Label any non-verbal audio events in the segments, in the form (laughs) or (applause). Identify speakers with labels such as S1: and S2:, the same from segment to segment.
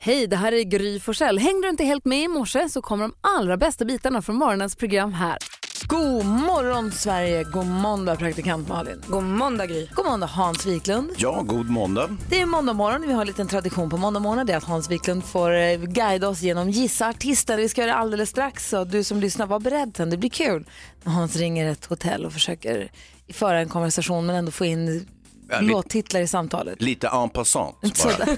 S1: Hej, det här är Gry Forssell. Hängde du inte helt med i morse så kommer de allra bästa bitarna från morgonens program här.
S2: God morgon Sverige, god måndag praktikant Malin.
S3: God måndag Gry.
S2: God måndag Hans Wiklund.
S4: Ja, god måndag.
S2: Det är måndag morgon, vi har en liten tradition på måndag morgon. Det är att Hans Wiklund får eh, guida oss genom Gissa artisten. Vi ska göra det alldeles strax så du som lyssnar, var beredd sen. Det blir kul när Hans ringer ett hotell och försöker föra en konversation men ändå få in
S4: Ja, li-
S2: låttitlar i samtalet.
S4: Lite en passant bara.
S2: Sådär.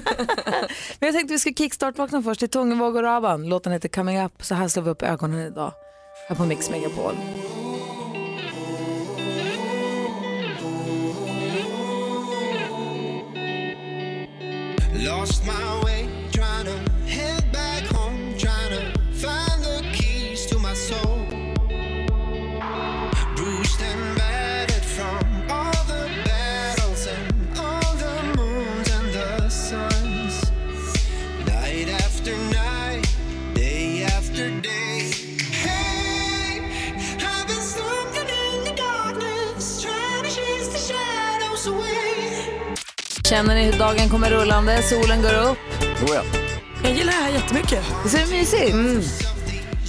S2: Men jag tänkte vi ska kickstart-vakna först till Tungevåg och Raban. Låten heter Coming Up. Så här slår vi upp ögonen idag. Här på Mix Megapol.
S5: Lost my way, trying to head back home, trying to find the keys to my soul. Bruised and battered from all the battles and all the moons and the suns. Night after night, day after day. Hey, I've been slumping in the darkness, trying to chase the shadows away.
S2: Känner ni hur dagen kommer rullande? Solen går upp.
S4: Oh, ja.
S3: Jag gillar det här jättemycket. Mm.
S2: Det är mysigt.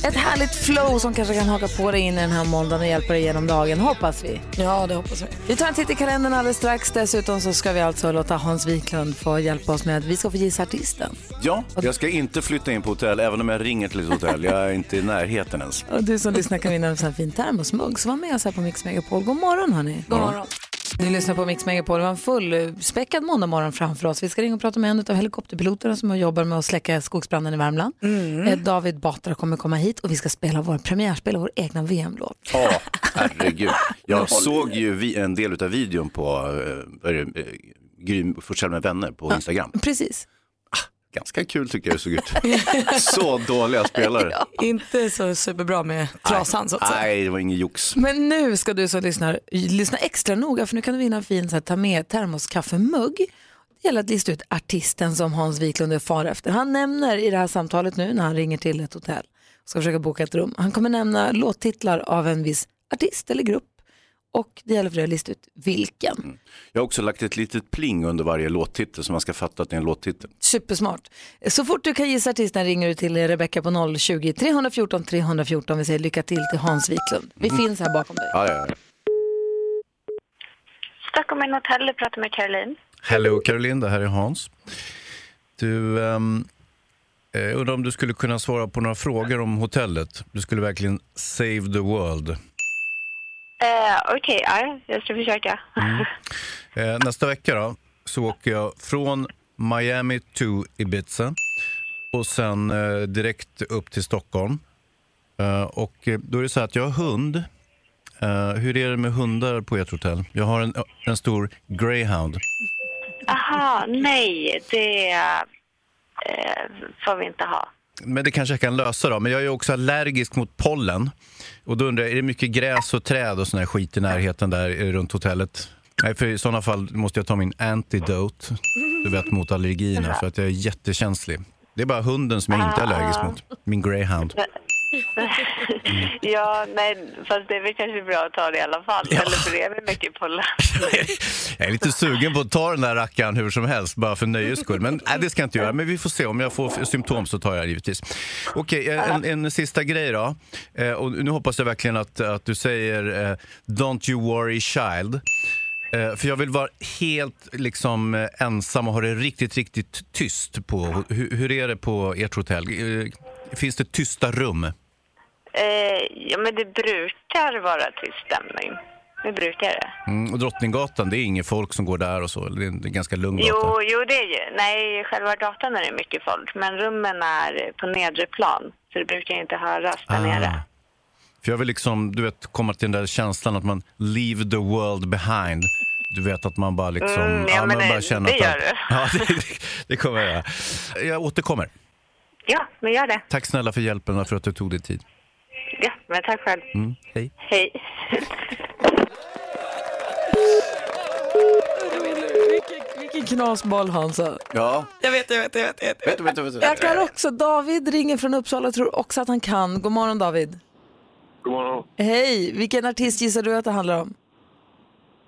S2: Ett härligt flow som kanske kan haka på dig in i den här måndagen och hjälpa dig igenom dagen, hoppas vi.
S3: Ja, det hoppas vi.
S2: Vi tar en titt i kalendern alldeles strax. Dessutom så ska vi alltså låta Hans Wiklund få hjälpa oss med att vi ska få gissa artisten.
S4: ja, jag ska inte flytta in på hotell även om jag ringer till ett hotell. Jag är inte i närheten ens.
S2: Och du som lyssnar kan vinna en sån här fin termosmugg. Så var med oss här på Mix Megapol. God morgon hörni.
S3: God morgon.
S2: Ni lyssnar på Mix Megapol. Vi har en fullspäckad måndag morgon framför oss. Vi ska ringa och prata med en av helikopterpiloterna som jobbar med att släcka skogsbranden i Värmland.
S3: Mm.
S2: Eh, David Batra kommer komå hit och vi ska spela vår premiärspel och vår egna VM-låt.
S4: Ja, herregud. Jag såg ju vi, en del av videon på eh, vad är det, eh, Gry Forssell med vänner på Instagram. Ah,
S2: Precis.
S4: Ganska kul tycker jag det såg ut. Så dåliga spelare.
S3: Inte så superbra med trasan så att säga.
S4: Nej, det var ingen jox.
S2: Men nu ska du som lyssnar lyssna extra noga för nu kan du vinna en fin så här, ta med termoskaffemugg. Det gäller att lista ut artisten som Hans Wiklund är far efter. Han nämner i det här samtalet nu när han ringer till ett hotell och ska försöka boka ett rum. Han kommer nämna låttitlar av en viss artist eller grupp och det gäller för dig att lista ut vilken.
S4: Jag har också lagt ett litet pling under varje låttitel så man ska fatta att det är en låttitel.
S2: Supersmart. Så fort du kan gissa artisten ringer du till Rebecca på 020-314 314. Vi säger lycka till till Hans Wiklund. Vi finns här bakom dig.
S4: Ja, ja, ja.
S6: Stockholm in Hotel, du pratar med Caroline.
S4: Hello Caroline, det här är Hans. Du, ehm, eh, undrar om du skulle kunna svara på några frågor om hotellet. Du skulle verkligen save the world.
S6: Eh, Okej, ja, jag ska försöka.
S4: Eh, nästa vecka då, så åker jag från Miami to Ibiza och sen eh, direkt upp till Stockholm. Eh, och eh, då är det så här att jag har hund. Eh, hur är det med hundar på ert hotell? Jag har en, en stor greyhound.
S6: Aha, nej, det eh, får vi inte ha. (laughs)
S4: Men det kanske jag kan lösa då. Men jag är ju också allergisk mot pollen. Och då undrar jag, är det mycket gräs och träd och sån här skit i närheten där eh, runt hotellet? Nej, för i sådana fall måste jag ta min antidote, du vet mot allergierna, för att jag är jättekänslig. Det är bara hunden som jag inte är allergisk mot, min greyhound.
S6: ja, nej, fast det är väl kanske bra att ta det i alla fall. Eller för det är väl mycket pollen.
S4: Jag är lite sugen på att ta den där rackaren hur som helst, bara för nöjes skull. Men nej, det ska jag inte göra. Men vi får se. Om jag får f- symptom så tar jag det givetvis. Okej, eh, en, en sista grej då. Eh, och nu hoppas jag verkligen att, att du säger eh, “Don't you worry child”. Eh, för jag vill vara helt liksom, eh, ensam och ha det riktigt, riktigt tyst. på... Hur, hur är det på ert hotell? Eh, finns det tysta rum?
S6: Eh, ja, men det brukar vara tyst stämning. Det brukar det.
S4: Mm, och Drottninggatan, det är inget folk som går där och så? Eller Det är en det är en ganska lugn gata?
S6: Jo, jo, det är ju. Nej, själva gatan är det mycket folk, men rummen är på nedre plan. Så det brukar inte höras där nere.
S4: Ah. För jag vill liksom, du vet, komma till den där känslan att man leave the world behind. Du vet att man bara liksom...
S6: Mm, ja, men
S4: man
S6: det-
S4: bara känner
S6: det
S4: att
S6: gör du.
S4: (laughs) Ja, det, det kommer jag göra. Jag återkommer.
S6: Ja, men gör det.
S4: Tack snälla för hjälpen och för att du tog dig tid.
S6: Ja, men tack själv.
S4: Mm, hej.
S6: Hej.
S2: Vilken, vilken knasboll Hansa.
S4: Ja,
S3: Jag vet, jag vet, jag vet. Jag vet.
S4: vet, vet, vet,
S2: Jag kan också. David ringer från Uppsala och tror också att han kan. God morgon David.
S7: God morgon.
S2: Hej, vilken artist gissar du att det handlar om?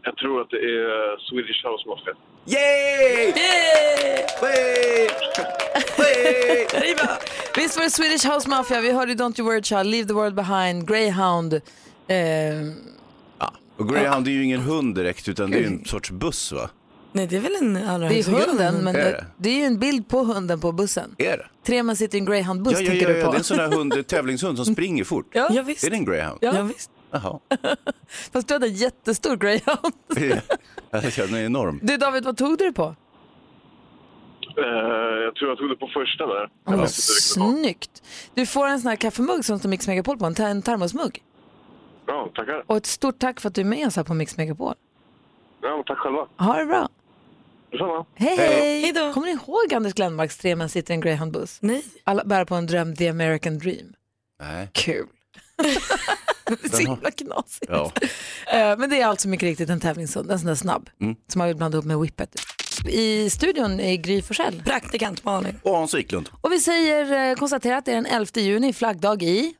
S7: Jag tror att det är eh, Swedish House Mafia.
S8: Yay!
S2: Yay! (laughs)
S8: Way! Way!
S2: Visst var det Swedish House Mafia, vi hörde ju Don't You Worry Child, Leave the World Behind, Greyhound. Eh,
S4: Och Greyhound är ju ingen hund direkt utan det är ju en sorts buss va?
S3: Nej, det är väl en allra Mm.
S2: Det är
S3: högsta grad
S2: hunden,
S3: en
S2: men
S4: Är
S2: det,
S4: det?
S2: det är ju en bild på hunden på bussen.
S4: Är det?
S2: Tre man sitter i en greyhoundbuss
S4: Ja, ja, ja,
S2: tänker
S4: ja.
S2: du
S4: det är en
S2: på.
S4: sån där
S2: (laughs)
S4: hund, tävlingshund som springer fort.
S3: Ja, visst.
S4: Är det en greyhound?
S3: Ja. visst.
S4: Jaha.
S2: Fast du hade en jättestor greyhound.
S4: (laughs) Ja, Den är enorm.
S2: Du David, vad tog du det på?
S7: Eh, jag tror jag tog det på första där.
S2: Åh, snyggt. Du får en sån här kaffemugg som står Mix Megapol på, en, ter- en termosmugg.
S7: Bra, tackar.
S2: Och ett stort tack för att du är med oss här på Mix Megapol.
S7: Ja, men tack själva.
S2: Ha det bra.
S7: Detsamma.
S2: Hej, hej.
S3: Hej då.
S2: Kommer ni ihåg Anders Glenmarks Tre man sitter i en greyhoundbuss?
S3: Nej.
S2: Alla bär på en dröm, the American dream.
S4: Nej. (laughs)
S2: Kul. det är så
S4: Den har-
S2: himla knasigt.
S4: Ja.
S2: Eh, Men det är alltså mycket riktigt en tävlingshund, en sån där snabb, som man vill blanda ihop med whippet. I studion är Gry Forssell.
S3: Praktikant Malin.
S4: Och Hans Wiklund.
S2: Och vi säger, eh, konstaterar att det är den 11 juni, flaggdag i...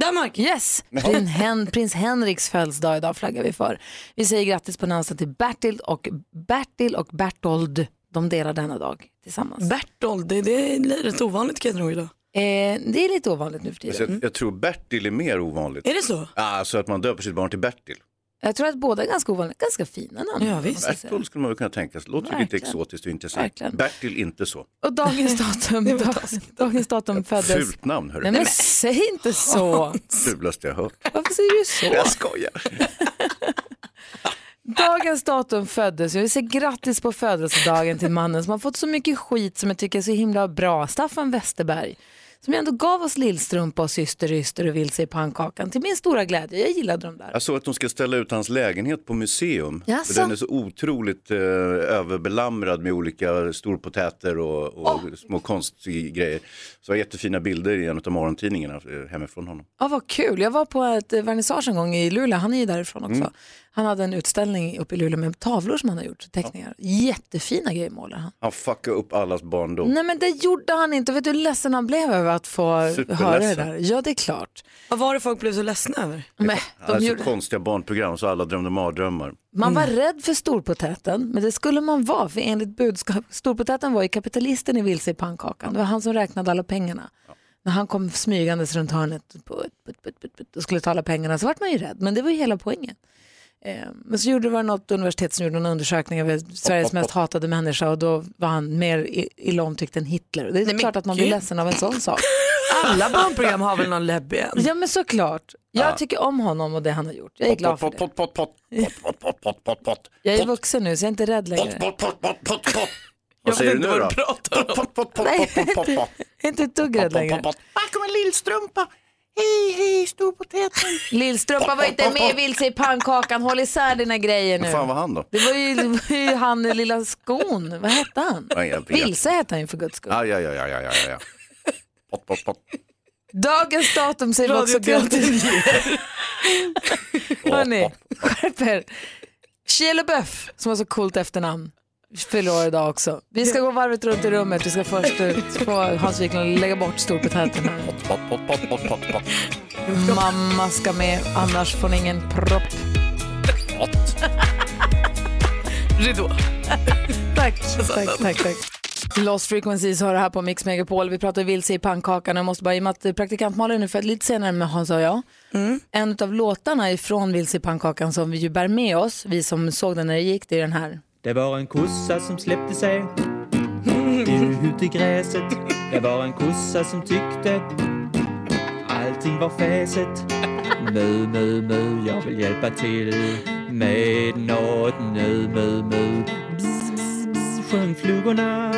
S3: Danmark.
S2: Yes! Prins, Hen- Prins Henriks födelsedag idag flaggar vi för. Vi säger grattis på namnsdagen till Bertil och Bertil och Bertold. De delar denna dag tillsammans.
S3: Bertold, det, det är rätt ovanligt kan jag tro idag.
S2: eh, det är Mm. lite ovanligt nu för tiden.
S4: Alltså, Jag, jag tror Bertil är mer ovanligt.
S3: Är det så?
S4: Alltså att man döper sitt barn till Bertil. Mm.
S2: Jag tror att båda är ganska ovanligt, ganska fina namn.
S3: Ja, visst.
S2: måste jag säga.
S4: Bertil skulle man väl kunna tänka sig. Låter ju lite
S2: Verkligen.
S4: exotiskt och intressant.
S2: Verkligen.
S4: Bertil inte så.
S3: (laughs)
S2: Och dagens datum, dag- dagens datum föddes...
S4: Fult namn hörru.
S2: Nej men säg
S3: (laughs)
S2: inte så.
S4: (laughs) Fulaste jag hört.
S2: Varför säger du så?
S4: Jag skojar.
S2: Dagens datum föddes ju. Vi säger grattis på födelsedagen till mannen som har fått så mycket skit som jag tycker är så himla bra. Staffan Westerberg. Som ju ändå gav oss Lillstrumpa och Syster Yster och Vilse i pannkakan. Till min stora glädje. Jag gillade dem där.
S4: Jag såg att de ska ställa ut hans lägenhet på museum.
S2: Jaså?
S4: Den är så otroligt eh, överbelamrad med olika storpotäter och, och små konstgrejer. Så jag har jättefina bilder i en av morgontidningarna eh, hemifrån honom.
S2: Ja, vad kul. Jag var på ett eh, vernissage en gång i Luleå. Han är ju därifrån också.
S4: Mm.
S2: Han hade en utställning uppe i Luleå med tavlor som han har gjort. Teckningar. Jättefina grejer målar han.
S4: Han fuckade upp allas barndom.
S2: Nej men det gjorde han inte. Vet du hur ledsen han blev över att få höra det
S4: Superledsen.
S2: där? Ja det är klart.
S3: Vad var det folk blev så ledsna över?
S2: Men,
S4: Han
S2: de
S4: hade
S2: gjorde...
S4: så Alltså, konstiga barnprogram så alla drömde mardrömmar.
S2: Man var rädd för storpotäten, men det skulle man vara för enligt budskap. Storpotäten var ju kapitalisten i vilse i pannkakan. Det var han som räknade alla pengarna. När han kom smygandes runt hörnet put, put, put, put, put, och skulle ta alla pengarna så vart man ju rädd. Men det var ju hela poängen. Eh, men så gjorde det var något universitet som gjorde en undersökning över Sveriges mest hatade människa och då var han mer i- illa omtyckt än Hitler. Och Det är klart att man blir
S3: gud.
S2: ledsen av en sån sak.
S3: Alla barnprogram har väl någon läbb igen?
S2: Ja men såklart. Jag tycker om honom och det han har gjort. Jag är glad för det.
S4: Pott, pott, pott, pott, pott, pott, pott, pott, pott.
S2: Jag är vuxen nu så jag är inte rädd längre.
S4: Pott, pott, pott, pott, pott. Vad säger du nu då? Pott, pott, pott, pott,
S2: Nej,
S4: pott, pott, pott.
S2: Jag är inte ett dugg rädd längre.
S4: Här kommer Lillstrumpa. Hej, hej, storpoteten.
S2: Lillstrumpa var inte med i vilse i pannkakan. Håll isär dina grejer nu.
S4: Vad fan var han då?
S2: Det var ju, det var ju han i Lilla skon. Vad hette han?
S4: Ja, jag vet.
S2: Vilse hette han ju för guds skull.
S4: Aj, aj, aj, aj, aj, aj, aj. Pott, pott, pott.
S2: Dagens datum säger vi också grattis. (laughs) Hörni, skärp er. Shia LaBeouf, som har så coolt efternamn, fyller år idag också. Vi ska gå varvet runt i rummet. Vi ska först ut få Hans Wiklund lägga bort storpotäten här.
S4: Pott, pott, pott, pott, pott, pott.
S2: Mamma ska med, annars får ni ingen propp.
S3: Ridå.
S2: Tack, tack, tack, tack. Lost Frequencies har det här på Mix Megapol. Vi pratar vilse i pannkakan. Jag måste bara, i och med att praktikant Malin är född lite senare med Hans och jag. En av låtarna ifrån Vilse i pannkakan som vi ju bär med oss, vi som såg den när det gick, det är den här.
S9: Det var en kossa som släppte sig ut i gräset. Det var en kossa som tyckte allting var fäset. Mu, mu, mu, jag vill hjälpa till med något nu, mu, mu. Bzz, bzz, bzz, sjöng flugorna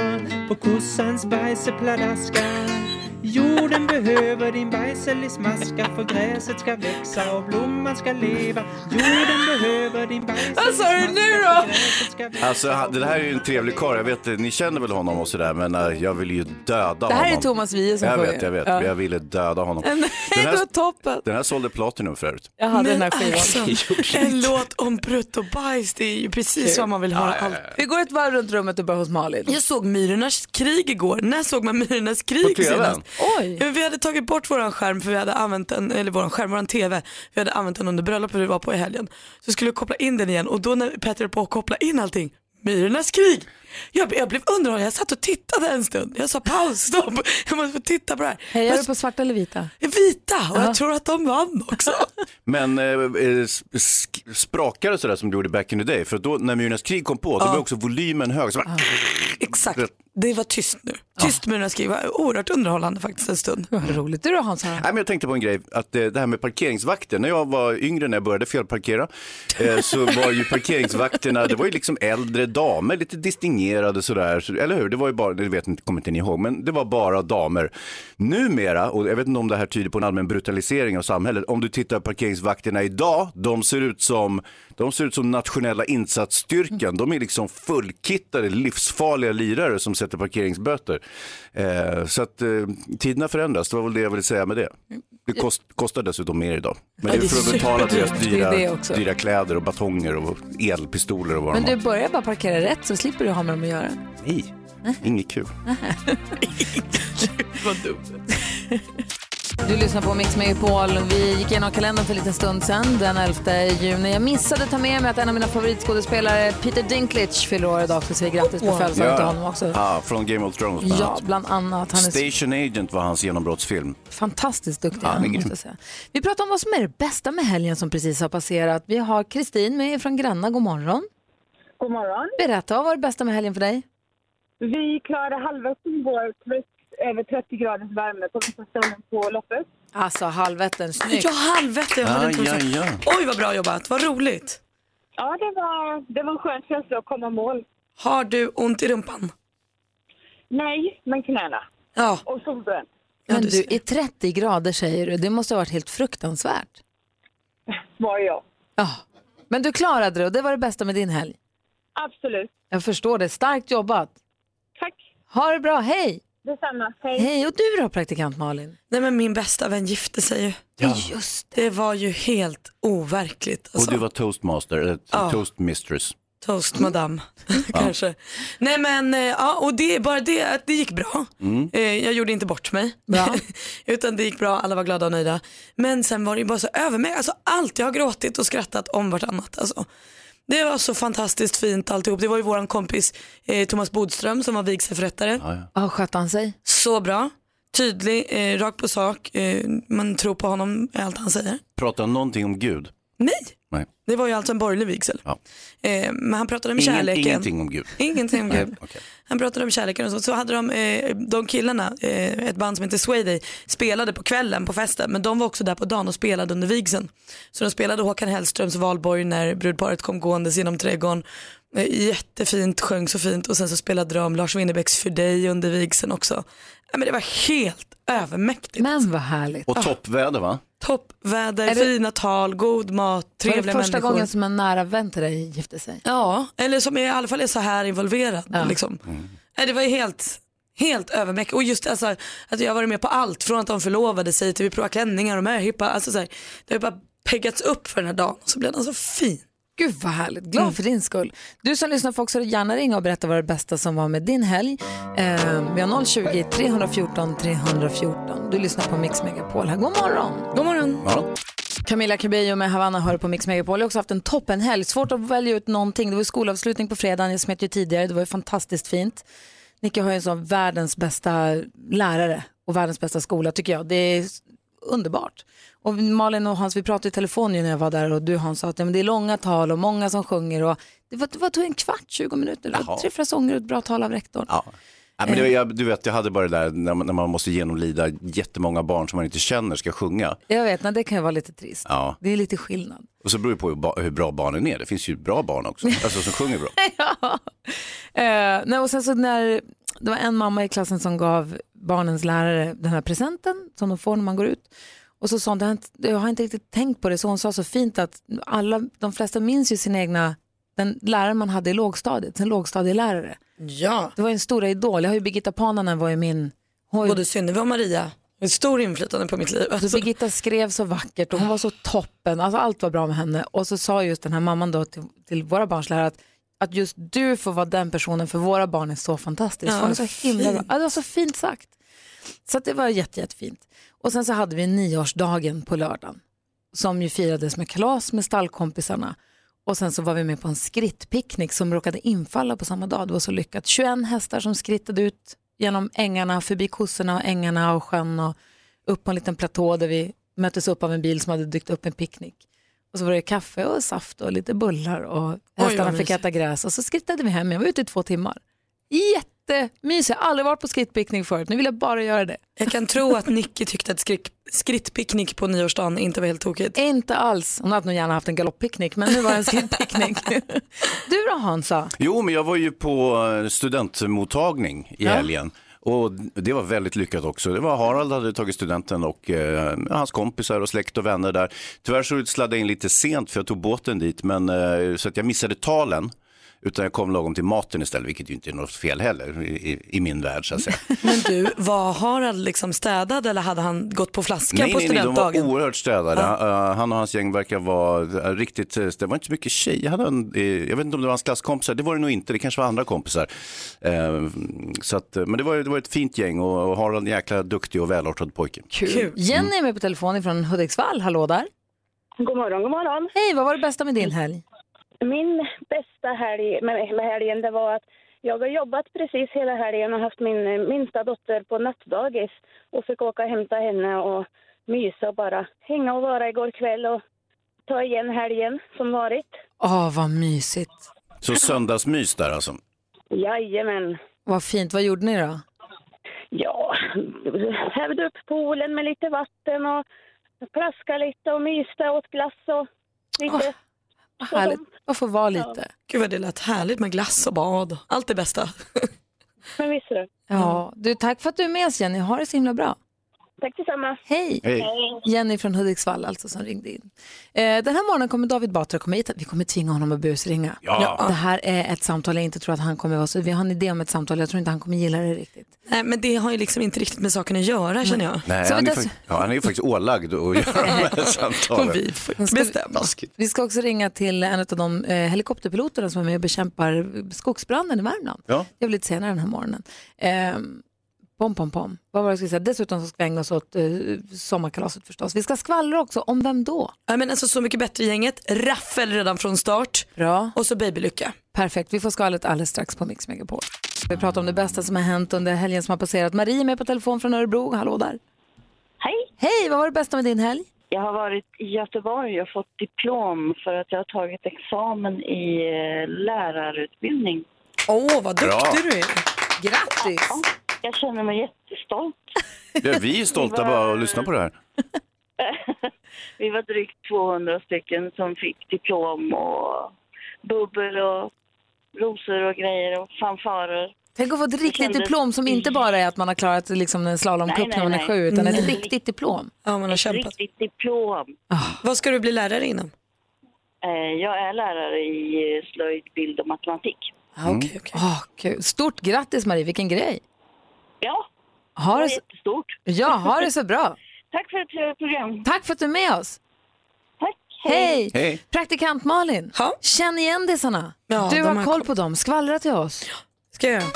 S9: på kossans bajsepladaska. Jorden behöver din bajselismaska för gräset ska växa och blomman ska leva. Jorden behöver din bajselismaska.
S2: Vad sa du nu då?
S4: Alltså, han- det här är ju en trevlig karl. Jag vet, ni känner väl honom och sådär, men eh, jag vill ju döda honom.
S2: Det här är Thomas Wiehe som
S4: Jag
S2: sjunger.
S4: vet, jag vet.
S2: Ja.
S4: Men jag ville döda honom.
S2: Det
S4: Den här,
S2: var toppen.
S4: den här sålde Platinum förut.
S2: Jag hade den här
S3: Men
S2: skivan.
S4: (laughs)
S3: alltså,
S2: (laughs)
S3: en låt om prutt och bajs, det är ju precis vad man vill höra. allt.
S2: Vi går ett varv runt rummet och börjar hos Malin.
S3: Jag såg Myrornas krig igår. När såg man Myrornas krig
S4: På TV:n?
S3: senast?
S2: Oj.
S3: Ja, men Vi hade tagit bort våran skärm för vi hade använt den, eller våran skärm, våran TV. Vi hade använt den under bröllopet vi var på i helgen. Så skulle jag koppla in den igen och då när Petter på att koppla in allting, Myrornas krig. Jag, jag blev underhållen, jag satt och tittade en stund. Jag sa paus, stopp, jag måste få titta på det här.
S2: Hejar
S3: Men
S2: du på svarta eller vita?
S3: så- Vita, och jag tror att de vann också.
S4: Men eh, eh, sk- sprakar det sådär som du gjorde back in the day? För då, när Myrornas krig kom på, då var också volymen hög. Så bara,
S3: Exakt, det var tyst nu. Tyst Myrornas krig, var oerhört underhållande faktiskt en stund.
S2: Vad roligt. Du då Hans? Harald?
S4: Nej, men jag tänkte på en grej, att eh, det här med parkeringsvakter. När jag var yngre, när jag började felparkera, eh, så var ju parkeringsvakterna, det var ju liksom äldre damer, lite distingerade sådär, så, eller hur? Det var ju bara, det vet inte, kommer inte ni ihåg, men det var bara damer. Numera, och jag vet inte om det här tyder på en allmän brutalisering av samhället, om du tittar på parkeringsvakterna idag, de ser ut som, de ser ut som nationella insatsstyrkan. De är liksom fullkittade, livsfarliga lirare som sätter parkeringsböter. Eh, så att eh, tiderna förändras, det var väl det jag ville säga med det. Det kost, kostar dessutom mer idag. Men det är
S3: det är
S4: för att betala deras
S2: superdyrt. Det är det
S4: dyra,
S2: också.
S4: dyra kläder och batonger och elpistoler och vad
S2: Men
S4: de
S2: du börjar bara parkera rätt så slipper du ha med dem att göra.
S4: har. Nej, inget kul.
S2: Du lyssnar på Mix Megapol. Vi gick igenom kalendern för en liten stund sedan, den 11 juni. Jag missade ta med mig att en av mina favoritskådespelare, Peter Dinklage, fyller år idag. Så vi säger grattis på födelsedagen till honom också.
S4: Ah, från Game of Thrones bland
S2: Ja,
S4: annat.
S2: bland annat. Han är så
S4: Station Agent var hans genombrottsfilm.
S2: fantastiskt duktig.
S4: Ja,
S2: han,
S4: men grym.
S2: måste jag säga. Vi pratar om vad som är det bästa med helgen som precis har passerat. Vi har Kristin med från Gränna. God morgon.
S10: God morgon.
S2: Berätta, vad var det bästa med helgen för dig?
S10: Vi klarade halva som går trots över 30 graders värme på vissa ställen på loppet.
S2: Alltså, halvvätten, snyggt.
S3: Ja, halvvete, jag hade inte
S4: Aj,
S3: kommit
S4: aj,
S3: så- Oj, vad bra jobbat, vad roligt.
S10: Ja, det var, det var en skön känsla att komma i mål.
S3: Har du ont i rumpan?
S10: Nej, men knäna.
S3: Ja,
S10: Och solbränd.
S2: Men
S3: du
S2: du, i 30 grader säger du. Det måste ha varit helt fruktansvärt.
S10: Var jag.
S2: Ja. Men du klarade det och det var det bästa med din helg.
S10: Absolut.
S2: Jag förstår det. Starkt jobbat.
S10: Tack.
S2: Ha det bra. Hej!
S10: Detsamma. Hej.
S2: Hej! Och du då, praktikant Malin?
S3: nej men min bästa vän gifte sig ju.
S2: Just
S3: Det var ju helt overkligt.
S4: Och
S3: Alltså.
S4: du var toastmaster, eller toastmistress.
S3: Toast madame, kanske. Nej men, eh, ja, och det är bara det att det gick bra. Eh, Jag gjorde inte bort mig.
S2: Bra.
S3: (laughs) Utan det gick bra, alla var glada och nöjda. Men sen var det ju bara så över mig. Alltså allt, jag har gråtit och skrattat om vartannat. Alltså. Det var så fantastiskt fint alltihop. Det var ju våran kompis eh, Thomas Bodström som var vigselförrättare.
S2: Ja, skötte han sig?
S3: Så bra, tydlig, eh, rakt på sak. Eh, man tror på honom i allt han säger.
S4: Prata någonting om Gud.
S3: Nej,
S4: Nej.
S3: det var ju alltså en borgerlig vigsel.
S4: Ja.
S3: Eh, men han pratade om
S4: Ingen,
S3: kärleken.
S4: ingenting om Gud.
S3: Ingenting om Gud.
S4: okej.
S3: Han pratade om kärleken och så. Så hade de, eh, de killarna, eh, ett band som heter Swayday, spelade på kvällen på festen. Men de var också där på dagen och spelade under vigseln. Så de spelade Håkan Hellströms Valborg när brudparet kom gåendes genom trädgården. Eh, jättefint, sjöng så fint. Och sen så spelade de Lars Winnerbäcks För dig under vigseln också. Ja, men det var helt övermäktigt.
S2: Men vad härligt.
S3: Ah.
S4: Och toppväder va?
S3: Toppväder,
S2: Är det-
S3: fina tal, god mat,
S2: Var
S3: trevliga
S2: det första
S3: människor.
S2: gången som en nära vän till dig gifte sig?
S3: Ja, eller som i alla fall är så här involverad. Liksom.
S4: Mm.
S3: Nej, Det var ju helt, helt övermäktigt. Och just alltså, att jag har varit med på allt, från att de förlovade sig till vi provade klänningar och möhippa. Alltså, så här, det har ju bara peggats upp för den här dagen och så blev den så alltså, fin. Mm.
S2: Gud vad härligt, glad för din skull. Du som lyssnar får också gärna ringa och berätta vad det bästa som var med din helg. Eh, vi har 020 314 314. Du lyssnar på Mix Megapol här. God morgon!
S3: God morgon.
S4: Ja.
S2: Camilla Cabello med Havanna hör på Mix Megapol. Jag har också haft en toppenhelg. Svårt att välja ut någonting. Det var skolavslutning på fredagen, jag smet ju tidigare. Det var ju fantastiskt fint. Nicke har ju en sån världens bästa lärare och världens bästa skola tycker jag. Det är s- underbart. Och Malin och Hans, vi pratade i telefon ju när jag var där och du Hans sa att ja, men det är långa tal och många som sjunger. Och det, var, det var, tog en kvart, 20 minuter. Det var
S4: Jaha.
S2: tre, fyra sånger och ett bra tal av rektorn.
S4: Ja. Nej,
S3: Eh.
S4: men det, jag, du vet, jag hade bara det där när man, när man måste genomlida jättemånga barn som man inte känner ska sjunga.
S2: Jag vet, men det kan ju vara lite trist.
S4: Ja.
S2: Det är lite skillnad.
S4: Och så beror det på hur, ba, hur bra barnen är. Det finns ju bra barn
S3: (laughs)
S4: också, alltså som sjunger bra.
S2: Eh, nej, och sen så när det var en mamma i klassen som gav barnens lärare den här presenten som de får när man går ut. Och så sa hon, "Det har inte- jag har inte riktigt tänkt på det, så hon sa så fint att alla, de flesta minns ju sin egna, den lärare man hade i lågstadiet, sin lågstadielärare.
S3: Ja.
S2: Det var ju en stora idol, jag har ju Birgitta Pananen var ju min, hon,
S3: Både Synnöve och Maria har ett stort inflytande på mitt liv.
S2: Alltså,
S3: Alltså,
S2: Birgitta skrev så vackert och hon var så toppen. Alltså, allt var bra med henne. Och så sa just den här mamman då till, till våra barns lärare att, att just du får vara den personen för våra barn är så fantastiska.
S3: Ja,
S2: hon är så himla bra. Ja, det var så fint sagt. Så att det var jätte, jättefint. Och sen så hade vi nioårsdagen på lördagen som ju firades med kalas med stallkompisarna. Och sen så var vi med på en skrittpicknick som råkade infalla på samma dag. Det var så lyckat. 21 hästar som skrittade ut genom ängarna, förbi kossorna och ängarna och sjön och upp på en liten platå där vi möttes upp av en bil som hade dykt upp en picknick. Och så var det kaffe och saft och lite bullar och
S3: vad
S2: hästarna fick
S3: mysigt.
S2: äta gräs och så skrittade vi hem. Jag var ute i två timmar. Jättemysigt, jag har aldrig varit på skrittpicknick förut. Nu vill jag bara göra det.
S3: Jag kan tro att Nicky tyckte att skrik, skrittpicknick på nyårsdagen inte var helt tokigt.
S2: Inte alls. Hon hade nog gärna haft en galopppicknick, men nu var det
S3: (laughs)
S2: en skrittpicknick. du då Hansa?
S4: Jo, men jag var ju på eh, studentmottagning i
S2: Ja.
S4: helgen. Och det var väldigt lyckat också. Det var Harald hade tagit studenten och eh, hans kompisar och släkt och vänner där. Tyvärr så sladdade jag in lite sent för jag tog båten dit, men, eh, så att jag missade talen. Utan jag kom lagom till maten istället, vilket ju inte är något fel heller i, i- i min värld så att säga.
S3: Men du, var Harald liksom städad eller hade han gått på flaska
S4: Nej,
S3: på
S4: nej, nej, de
S3: studentdagen?
S4: var oerhört städade. Eh, Han och hans gäng verkar vara eh, riktigt, eh, det var inte så mycket tjejer. Hade en, eh, jag vet inte om det var hans klasskompisar, det var det nog inte, det kanske var andra kompisar. Eh, Så att, eh, men det var, det var ett fint gäng och och Harald är en jäkla duktig och välartad pojke.
S3: Kul.
S2: Jenny är med på telefon från Hudiksvall. Hallå där.
S10: God morgon, god morgon.
S2: Hej, vad var det bästa med din helg?
S10: Min bästa helg med, med helgen det var att jag har jobbat precis hela helgen och haft min eh, minsta dotter på nattdagis och fick åka och hämta henne och mysa och bara hänga och vara igår kväll och ta igen helgen som varit.
S2: Åh, vad mysigt.
S4: Så söndagsmys där alltså.
S10: Jajamän.
S2: Vad fint. Vad gjorde ni då?
S10: Ja, hävde upp poolen med lite vatten och plaska lite och myste åt glass och lite.
S2: Vad Ah, Härligt. Man får vara lite.
S3: Gud vad det lät härligt med glass och bad. Allt det bästa.
S10: Men visst är det.
S2: Ja, du, tack för att du är med oss Jenny. Ha det så himla bra.
S10: Tack detsamma.
S2: Hej!
S4: Hej.
S2: Jenny från Hudiksvall alltså som ringde in. Eh, den här morgonen kommer David Batra komma hit. Vi kommer tvinga honom att busringa.
S4: Ja.
S2: Det här är ett samtal jag inte tror att han kommer vara så. Vi har en idé om ett samtal. Jag tror inte han kommer gilla det riktigt.
S3: Nej, men det har ju liksom inte riktigt med saken att göra känner jag.
S4: Nej,
S2: Så
S4: han, är
S2: det-
S4: fakt- ja, han är ju faktiskt ålagd att göra de
S3: (laughs)
S4: här
S3: Och
S4: samtalen.
S3: vi får bestämma.
S2: Vi ska också ringa till en av de eh, helikopterpiloterna som är med och bekämpar skogsbranden i Värmland.
S4: Ja.
S2: Det är lite senare den här morgonen. Eh, pom, pom, pom. Vad var det jag skulle säga? Dessutom så ska vi ägna oss åt eh, sommarkalaset förstås. Vi ska skvallra också. Om vem då?
S3: Ja, men alltså så mycket bättre gänget. Raffel redan från start.
S2: Bra.
S3: Och så babylycka.
S2: Perfekt. Vi får skalet alldeles strax på Mix Megapol. Vi pratar om det bästa som har hänt under helgen som har passerat. Marie är med på telefon från Örebro. Hallå där.
S10: Hej!
S2: Hej, vad var det bästa med din helg?
S10: Jag har varit i Göteborg och fått diplom för att jag har tagit examen i eh, lärarutbildning.
S3: Åh, vad duktig
S4: Bra.
S3: du är.
S2: Grattis!
S10: Jag känner mig jättestolt.
S4: Ja, vi är stolta bara att lyssna på det här.
S10: Vi var drygt 200 stycken som fick diplom och bubbel och rosor och grejer och fanfarer.
S2: Tänk att få ett riktigt
S10: kändes-
S2: diplom som inte bara är att man har klarat liksom en
S10: Nej,
S2: slalomcup
S10: nej,
S2: när man är
S10: nej. Mm.
S2: sju, utan ett
S10: Nej.
S2: riktigt diplom.
S3: Ja, man har kämpat.
S10: Riktigt diplom.
S3: Vad ska du bli lärare inom?
S10: Eh, Jag är lärare i eh, slöjd, bild och matematik.
S3: Ah, okay, okay.
S2: Åh, kul. Stort grattis Marie, vilken grej!
S10: Ja, det
S2: Ha
S10: var
S2: det, så-
S10: jättestort.
S2: ja, ha det så bra!
S10: (laughs) Tack för ett trevligt program.
S2: Tack för att du är med oss!
S10: Tack.
S2: Hej!
S4: Hej.
S2: Praktikant Malin,
S3: Ja.
S2: känn igen disarna.
S3: Ja,
S2: du
S3: de
S2: har
S3: har
S2: koll
S3: koll.
S2: på dem, skvallra till oss.
S3: Ska jag göra.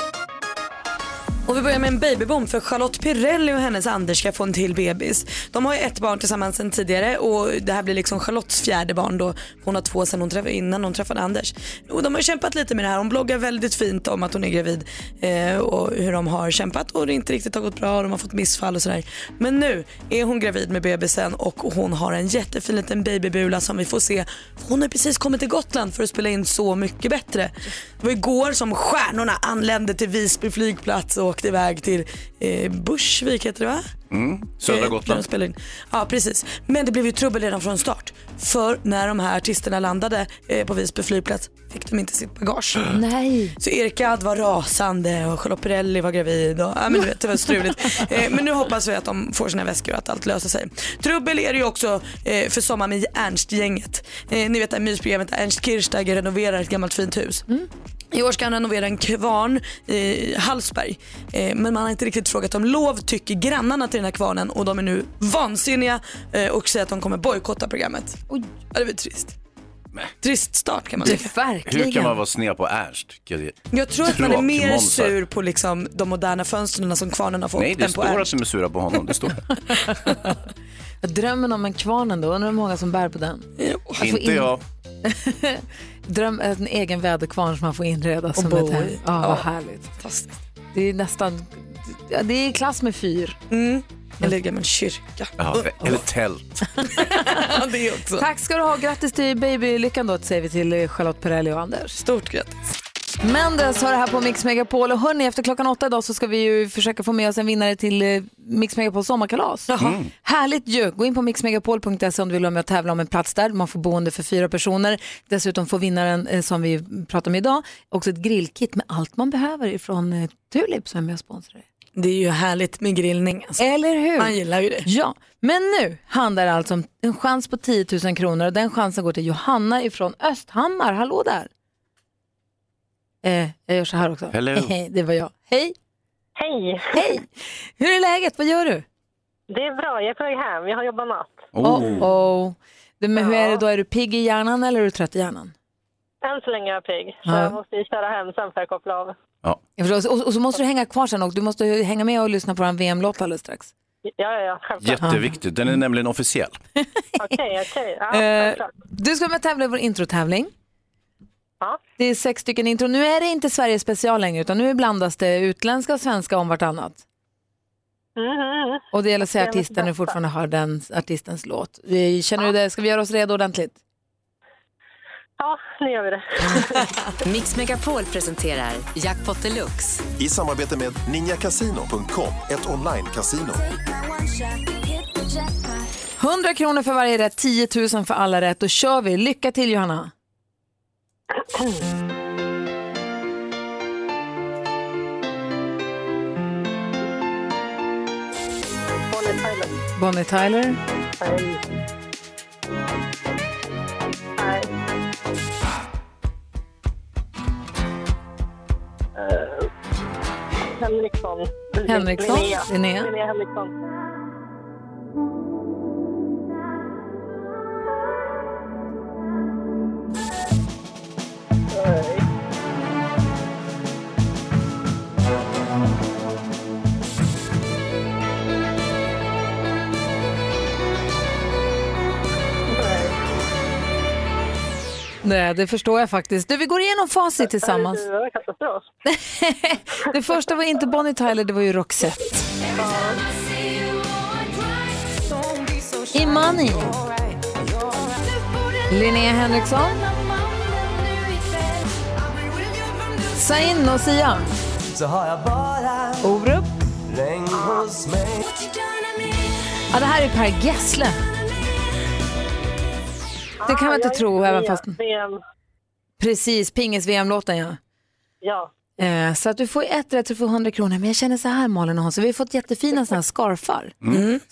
S3: Och vi börjar med en babybomb för Charlotte Pirelli och hennes Anders ska få en till bebis. De har ju ett barn tillsammans sedan tidigare och det här blir liksom Charlottes fjärde barn då. Hon har två sedan hon träffade, innan hon träffade Anders. Och de har kämpat lite med det här. Hon bloggar väldigt fint om att hon är gravid eh, och hur de har kämpat och det inte riktigt har gått bra och de har fått missfall och sådär. Men nu är hon gravid med bebisen och hon har en jättefin liten babybula som vi får se. För Hon har precis kommit till Gotland för att spela in Så mycket bättre. Det var igår som stjärnorna anlände till Visby flygplats och åkte iväg till eh, Bursvik heter det va?
S4: Mm, Södra
S3: Eh, där de
S4: Gotland.
S3: spelar in. Ja precis. Men det blev ju trubbel redan från start. För när de här artisterna landade eh, på Visby flygplats fick de inte sitt bagage.
S2: Nej,
S3: Så Erkad var rasande och Charlotte Perrelli var gravid. Och, ja, men du vet, det var struligt. Eh, men nu hoppas vi att de får sina väskor och att allt löser sig. Trubbel är det ju också eh, för Sommar med Ernst-gänget. Eh, ni vet det här mysprogrammet där Ernst Kirchsteiger renoverar ett gammalt fint hus. I år ska han renovera en kvarn i Hallsberg. Eh, men man har inte riktigt frågat om lov tycker grannarna till den här kvarnen och de är nu vansinniga eh, och säger att de kommer bojkotta programmet.
S2: Oj.
S3: Ja, det blir trist. Trist start kan man säga.
S2: det, verkligen.
S4: Hur kan man vara sned på Ernst?
S3: Jag tror att man är mer
S4: Tråkmånsar.
S3: sur på liksom de moderna fönstren som kvarnen har fått
S4: Nej, det
S3: än på
S4: står att
S3: Ernst.
S4: de är sura på honom. Det
S2: (laughs)
S4: står
S2: Drömmen om en kvarn ändå, undrar hur många som bär på den.
S3: Jo.
S2: får
S4: inte
S2: alltså in-
S4: jag.
S2: Dröm en egen väderkvarn som man får inreda som
S3: bo
S2: ett hem.
S3: i.
S2: Ja, vad
S3: Ja.
S2: härligt. Det är nästan, ja, det är i klass med fyr.
S3: Mm. Eller en gammal kyrka.
S4: Ja, eller
S2: (laughs)
S4: tält.
S3: Ja, det också.
S2: Tack ska du ha. Grattis till babylyckan då säger vi till eh, Charlotte Perrelli och Anders.
S3: Stort grattis.
S2: Mendes har det här på Mix Megapol och hörni, efter klockan åtta idag så ska vi ju försöka få med oss en vinnare till eh, Mix Megapols sommarkalas.
S4: Mm.
S2: Mm. Härligt ju! Gå in på mixmegapol.se om du vill vara med och tävla om en plats där. Man får boende för fyra personer. Dessutom får vinnaren, eh, som vi pratar om idag, också ett grillkit med allt man behöver ifrån eh, Tulip som är med och sponsrar.
S3: Det är ju härligt med grillning. Alltså.
S2: Eller hur?
S3: Man gillar ju det.
S2: Ja, men nu handlar det alltså om en chans på 10 000 kronor och den chansen går till Johanna ifrån Östhammar. Hallå där! Eh, jag gör så här också.
S4: Hello.
S2: Hej, (laughs) det var jag. Hej!
S10: Hej!
S2: Hej! Hur är läget? Vad gör du?
S10: Det är bra, jag är på väg hem. Jag har jobbat mat.
S2: Oh. Oh, Du, men hur är det då? Är du pigg i hjärnan eller är du trött i hjärnan?
S10: Än så länge är jag pigg. Så
S2: Ja.
S10: jag måste ju köra hem sen för att koppla av.
S2: Jag förstår. Och, och så måste du hänga kvar sen och du måste hänga med och lyssna på vår VM-låt alldeles strax.
S10: Ja, ja, ja. Självklart.
S4: Jätteviktigt. Den är nämligen officiell.
S10: Okej, okej. Ja,
S2: Eh,
S10: självklart.
S2: du ska med och tävla i vår introtävling.
S10: Ja.
S2: Det är sex stycken intro. Nu är det inte Sverige special längre utan nu blandas det utländska och svenska om vartannat.
S10: Mhm, mhm.
S2: Och det gäller att säga
S10: Det är mitt
S2: artisten när du fortfarande hör den artistens låt. Vi- Känner du det? Ska vi göra oss redo ordentligt?
S10: Ja, nu gör vi det.
S11: (laughs)
S12: Mix Megapol presenterar Jackpot Deluxe.
S11: I samarbete med ninjakasino.com, ett online-casino.
S2: 100 kronor för varje rätt, 10 000 för alla rätt. Då kör vi. Lycka till Johanna.
S10: Bonnie Tyler.
S2: Bonnie Tyler.
S10: Hej. Hej. Eh, Henriksson.
S2: Henriksson,
S10: Linnea.
S2: Linnea.
S10: Linnea Henriksson.
S2: Nej, det förstår jag faktiskt. Du, vi går igenom
S10: (laughs)
S2: facit tillsammans. (laughs)
S10: Det var katastrof.
S2: Det första var inte Bonnie Tyler, det var ju Roxette. Imani. Linnea Henriksson. Zain och Sia. Orup. Ja, det här är Per Gessle. Det kan man inte tro, även fast...
S10: VM.
S2: Precis, pingis-VM-låten ja.
S10: Ja.
S2: Eh, så att du får ett rätt, du får 100 kronor. Men jag känner så här Malin och Hans, vi har fått jättefina såna här scarfar.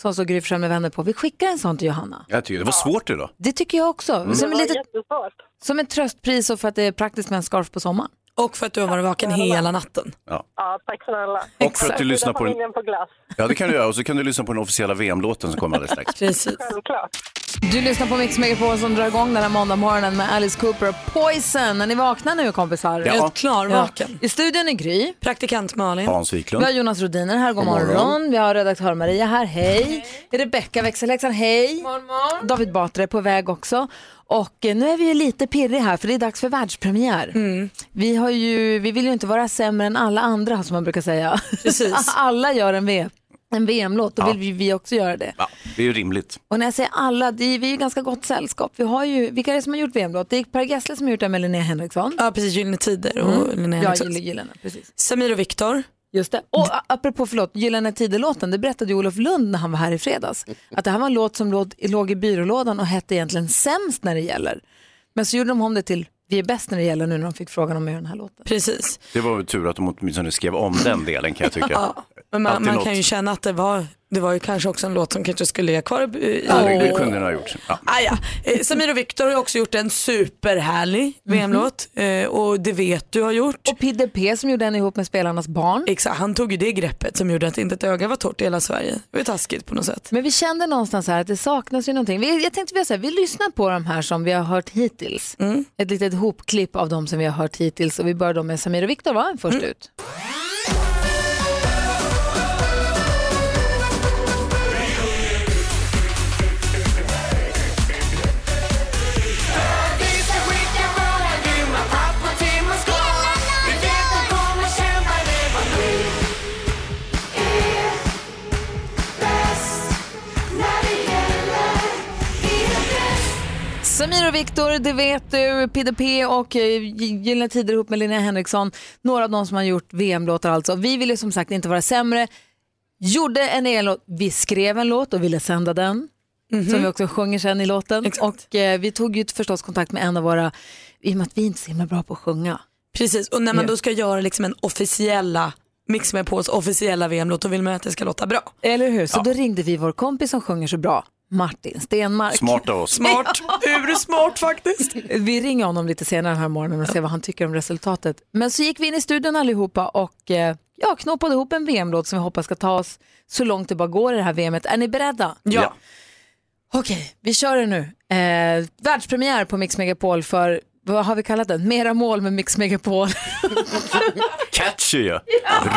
S2: Som så Gry Forssell med vänner på. Vi skickar en sån till Johanna.
S4: Mm. Jag tycker det var svårt idag.
S2: Det tycker jag också.
S10: Det
S2: Som, en
S10: var
S2: lite,
S10: jättesvårt.
S2: som en tröstpris och för att det är praktiskt med en scarf på sommaren.
S3: Och för att du har varit vaken hela natten.
S10: Ja, tack snälla.
S4: Och för att du lyssnar på den.
S10: Familjen på glass.
S4: Ja, det kan du göra. Och så kan du lyssna på den officiella VM-låten som kommer alldeles strax.
S2: (laughs)
S3: Precis.
S10: Självklart.
S2: Du lyssnar på Mix Megapol som drar igång den här måndagmorgonen med Alice Cooper och Poison. Är ni vakna nu kompisar?
S4: Ja.
S3: Helt klarvaken.
S2: I studion är Gry.
S3: Praktikant Malin.
S4: Hans
S2: Vi
S4: Wiklund.
S2: har Jonas Rodiner här, god
S4: God morgon.
S2: morgon. Vi har redaktör Maria här, hej. Rebecka växelhäxan, hej. David Batra är på väg också. Och eh, nu är vi ju lite pirrig här för det är dags för världspremiär.
S3: Mm.
S2: Vi, har ju, vi vill ju inte vara sämre än alla andra som man brukar säga.
S3: Precis.
S2: (laughs) alla gör en, v, en VM-låt, då vill vi, vi också göra det.
S4: Ja, det är ju rimligt.
S2: Och när jag säger alla, det är, vi är ju ganska gott sällskap. Vi har ju, vilka är det som har gjort VM-låt? Det är Per Gessle som har gjort den med Linnea Henriksson.
S3: Ja, precis. Gyllene Tider och Linnea
S2: Mm. Jag
S3: Henriksson.
S2: gillar, gillar henne, precis.
S3: Samir och Viktor.
S2: Just det. Och a- apropå förlåt, Gyllene Tider-låten, det berättade ju Olof Lund när han var här i fredags. Att det här var en låt som låg, låg i byrålådan och hette egentligen Sämst när det gäller. Men så gjorde de om det till Vi är bäst när det gäller nu när de fick frågan om att göra den här låten.
S3: Precis.
S4: Det var väl tur att de åtminstone skrev om den delen kan jag tycka.
S3: Men man,
S4: Alltid
S3: man
S4: något.
S3: kan ju känna att det var, det var ju kanske också en låt som kanske skulle ligga kvar i... i-
S4: Ja, det, det kunde den ha gjort. Ja.
S3: Ah, ja. eh, Samir och Viktor har ju också gjort en superhärlig VM-låt eh, och det vet du har gjort.
S2: Och Pidde P som gjorde den ihop med spelarnas barn.
S3: Exakt, han tog ju det greppet som gjorde att inte ett öga var torrt i hela Sverige. Det var ju taskigt på något sätt.
S2: Men vi kände någonstans här att det saknas ju någonting. Vi, jag tänkte vi, gör så här, vi lyssnar på de här som vi har hört hittills. Ett litet hopklipp av de som vi har hört hittills och vi börjar då med Samir och Viktor va? Först ut.
S5: Visst är
S2: Samir och Viktor, det vet du, PDP och eh, Gyllene Tider ihop med Linnea Henriksson. Några av de som har gjort VM-låtar alltså. Vi ville som sagt inte vara sämre. Gjorde en egen låt. Vi skrev en låt och ville sända den.
S3: Mhm.
S2: Som vi också sjunger sen i låten. Och eh, vi tog ju förstås kontakt med en av våra, i och med att vi inte är så himla bra på att sjunga.
S3: Precis, och när man
S2: Ja.
S3: då ska göra liksom en officiella Mix med Pauls officiella VM-låt, då vill man ju att det ska låta bra.
S2: Eller hur? Så då ringde vi vår kompis som sjunger så bra, Martin Stenmark.
S4: Smart av oss.
S2: (laughs)
S3: Smart. Ursmart faktiskt.
S2: Vi ringer honom lite senare den här morgonen och ser vad han tycker om resultatet. Men så gick vi in i studion allihopa och eh, ja, knoppade ihop en VM-låt som vi hoppas ska ta oss så långt det bara går i det här VMet. Är ni beredda?
S3: Ja.
S2: Okej, vi kör det nu. Eh, världspremiär på Mix Megapol för, vad har vi kallat den? Mera mål med Mix Megapol. (laughs)
S4: Catchy ju.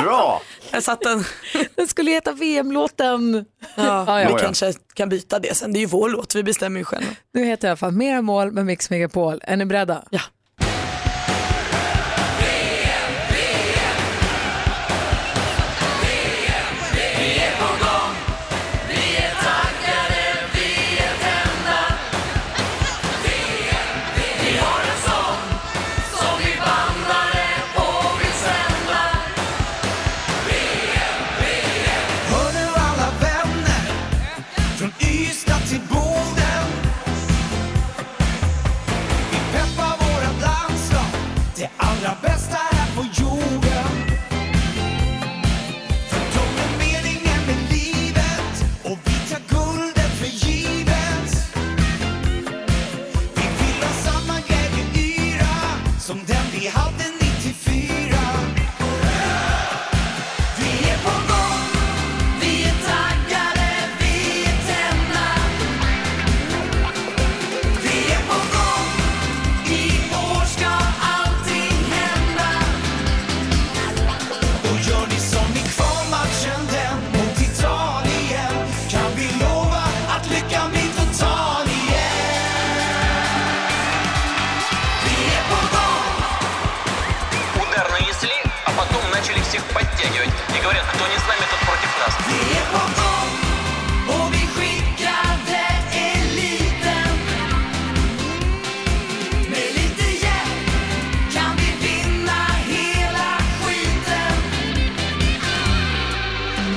S4: Bra!
S3: Jag satt den.
S2: (laughs) den skulle heta VM-låten.
S3: Ja,
S2: Ja, ja.
S3: Vi kanske kan byta det sen, det är ju vår låt, vi bestämmer ju själva.
S2: Nu heter det i alla fall Mera mål med Mix Megapol. Är ni beredda? Ja.
S5: Hör nu alla vänner från Ystad till Boden. Vi peppar vårat landslag, det allra bästa här på jorden. För dem är meningen med livet och vi tar guldet för givet. Vi vill ha samma glädjeyra som den vi hade 94. Vi är på gång vi är taggade, vi är tända Vi är på gång I år ska allting hända Och gör ni som i kvalmatchen den mot Italien Kan vi lova att lyckan blir total igen Vi är på gång
S13: Удар нанесли, а потом начали всех подтягивать. И говорят, кто не с нами, тот против нас.
S5: Vi är på gång och vi skickade eliten Med lite hjälp kan vi vinna hela skiten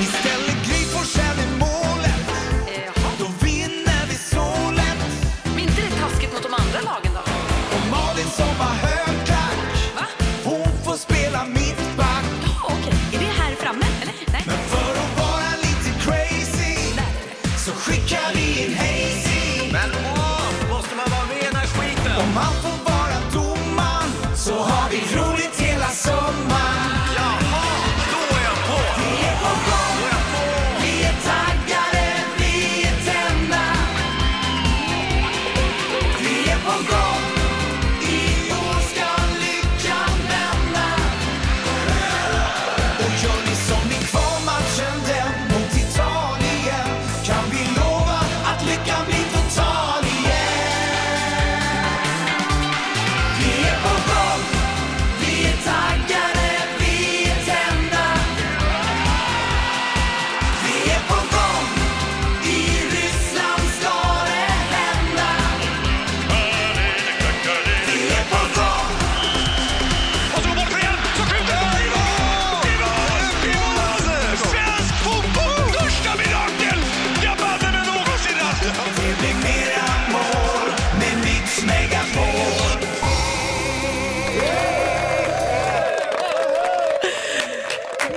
S5: Istället Gry Forssell i målet Då vinner vi solen
S1: Men inte det taskigt mot de andra lagen då?
S5: Och Malin som var högklack Hon får spela mittback
S14: Är det här framme? Eller? Nej.
S5: Men för att vara lite crazy så skickar vi en hazy. Men åh, måste man vara med i den här skiten? Om man får vara domaren så har vi roligt hela sommaren. Jaha, då är jag på. Vi är på gång. Vi är taggade, vi är tända. Vi är på gång. I år ska lyckan vända. Och gör ni som i kvalmatchen den mot Italien kan vi lova att lyckan blir total igen. Vi är på gång, vi är taggade, vi är tända. Vi är på gång, i Ryssland ska det hända. Vi är på gång. Och så går bollen igen, så skjuter han! I mål! Svensk fotboll! Största mirakel jag banne mig någonsin haft! Det blir mera mål med Mix Megapol.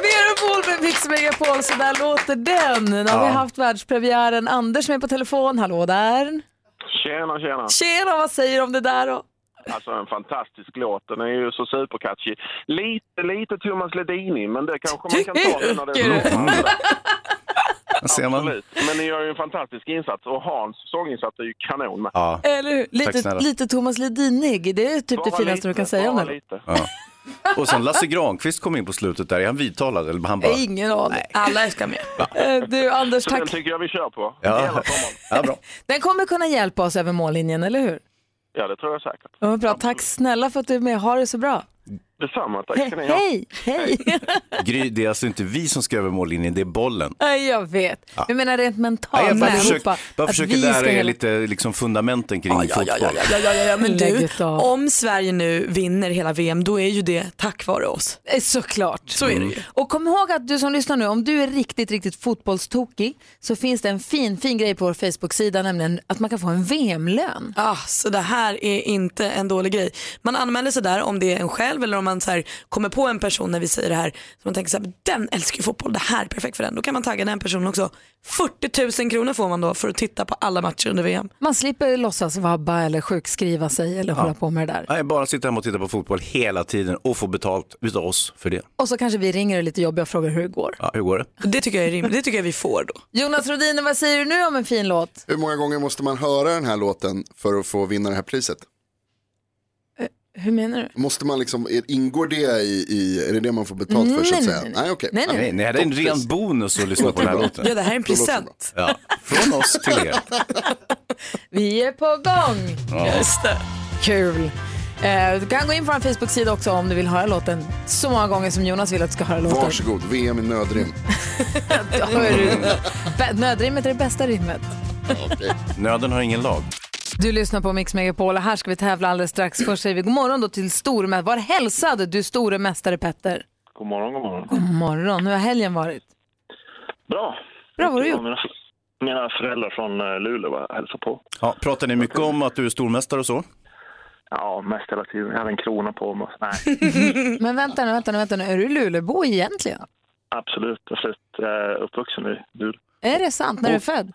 S2: Merapol med Mix Megapol, så där låter den. Nu har
S7: Ja.
S2: vi haft världspremiären. Anders som är på telefon, hallå där.
S7: Tjena, tjena.
S2: Tjena, vad säger du om det där då?
S7: Alltså en fantastisk låt, den är ju så supercatchy. Lite, lite Thomas Ledini, men det kanske man kan ta det när det är
S4: (laughs) Mm. Där ser man.
S7: Absolut, men ni gör ju en fantastisk insats och Hans sånginsats är ju kanon med.
S4: Ja.
S2: Eller hur? Lite, lite Thomas Ledinig, det är typ det
S7: Bara
S2: finaste du
S7: lite,
S2: kan säga om
S7: bara
S2: den.
S7: lite.
S4: Ja. (laughs) Och sen Lasse Granqvist kom in på slutet där. Är han vidtalad? Eller han bara...
S2: Ingen aning. Alla ska med. Eh, Du Anders,
S7: Så den
S2: tack.
S7: tycker jag vi kör på.
S4: Ja. ja, bra.
S2: Den kommer kunna hjälpa oss över mållinjen, eller hur?
S7: Ja, det tror jag säkert.
S2: Ja, vad bra. Tack snälla för att du är med. Ha det så bra.
S7: Detsamma, tack ska ni ha.
S2: Hej, hej. (laughs)
S4: Gry, det är alltså inte vi som ska över mållinjen, det är bollen.
S2: Nej, jag vet.
S4: Ja.
S2: Jag menar rent
S4: Nej,
S2: mentalt.
S4: jag bara
S2: allihopa,
S4: försöker, bara
S2: att
S4: försöker
S2: vi ska
S4: lära er
S2: hela-
S4: lite liksom, fundamenten kring fotboll.
S3: Ja, ja, ja, ja, men du,
S2: Lägget av.
S3: om Sverige nu vinner hela VM då är ju det tack vare oss.
S2: Eh, Såklart.
S3: Så är det ju.
S2: Och kom ihåg att du som lyssnar nu, om du är riktigt, riktigt fotbollstokig så finns det en fin, fin grej på vår Facebook-sida, nämligen att man kan få en VM-lön.
S3: Ah, så det här är inte en dålig grej. Man anmäler sig där om det är en själv eller om man så här kommer på en person när vi säger det här. Så man tänker så här, den älskar ju fotboll, det här är perfekt för den. Då kan man tagga den personen också. 40 000 kronor får man då för att titta på alla matcher under VM.
S2: Man slipper låtsas vabba eller sjukskriva sig eller hålla på med det där.
S4: Nej, bara sitta hemma och titta på fotboll hela tiden och få betalt utav oss för det.
S2: Och så kanske vi ringer och lite jobbiga frågar hur det går.
S4: Ja, hur går det?
S3: Det tycker jag är rimligt, det tycker jag vi får då.
S2: Jonas Rodiner, vad säger du nu om en fin låt?
S15: Hur många gånger måste man höra den här låten för att få vinna det här priset?
S2: Hur menar du?
S15: Måste man liksom, är- ingår det i, i är det det man får betalt för så
S2: Nej,
S15: att
S2: nej,
S15: säga?
S2: nej,
S15: Nej, okej.
S2: Nej, nej, nej.
S4: Nej, det är en ren bonus att lyssna på den här låten.
S3: Ja, det här är en
S4: Då låter det
S3: present.
S4: bra. Ja, från oss till er.
S2: Vi är på gång!
S4: Ja.
S3: Just det.
S2: Kul! Eh, Du kan gå in på vår Facebook-sida också om du vill höra låten så många gånger som Jonas vill att du ska höra låten.
S15: Varsågod, VM i nödrim.
S2: Bä- Nödrimmet är det bästa rimmet.
S4: Nöden har ingen lag.
S2: Du lyssnar på Mix Megapol och här ska vi tävla alldeles strax. Först säger vi god morgon då till stormästare. Var hälsad du store mästare Petter.
S7: God morgon, god morgon.
S2: God morgon. Hur har helgen (laughs) varit?
S7: Bra.
S2: Bra, vad har du gjort?
S7: Mina, mina föräldrar från eh, Luleå var och hälsade på.
S4: Ja, pratar ni mycket om att du är stormästare och så?
S7: Ja, mest hela tiden. Jag hade en krona på mig. Nej,
S2: Men vänta nu, vänta nu, vänta nu. Är du Lulebo egentligen?
S7: absolut. Jag är slut- eh, uppvuxen i Luleå.
S2: Är det sant? När du är född?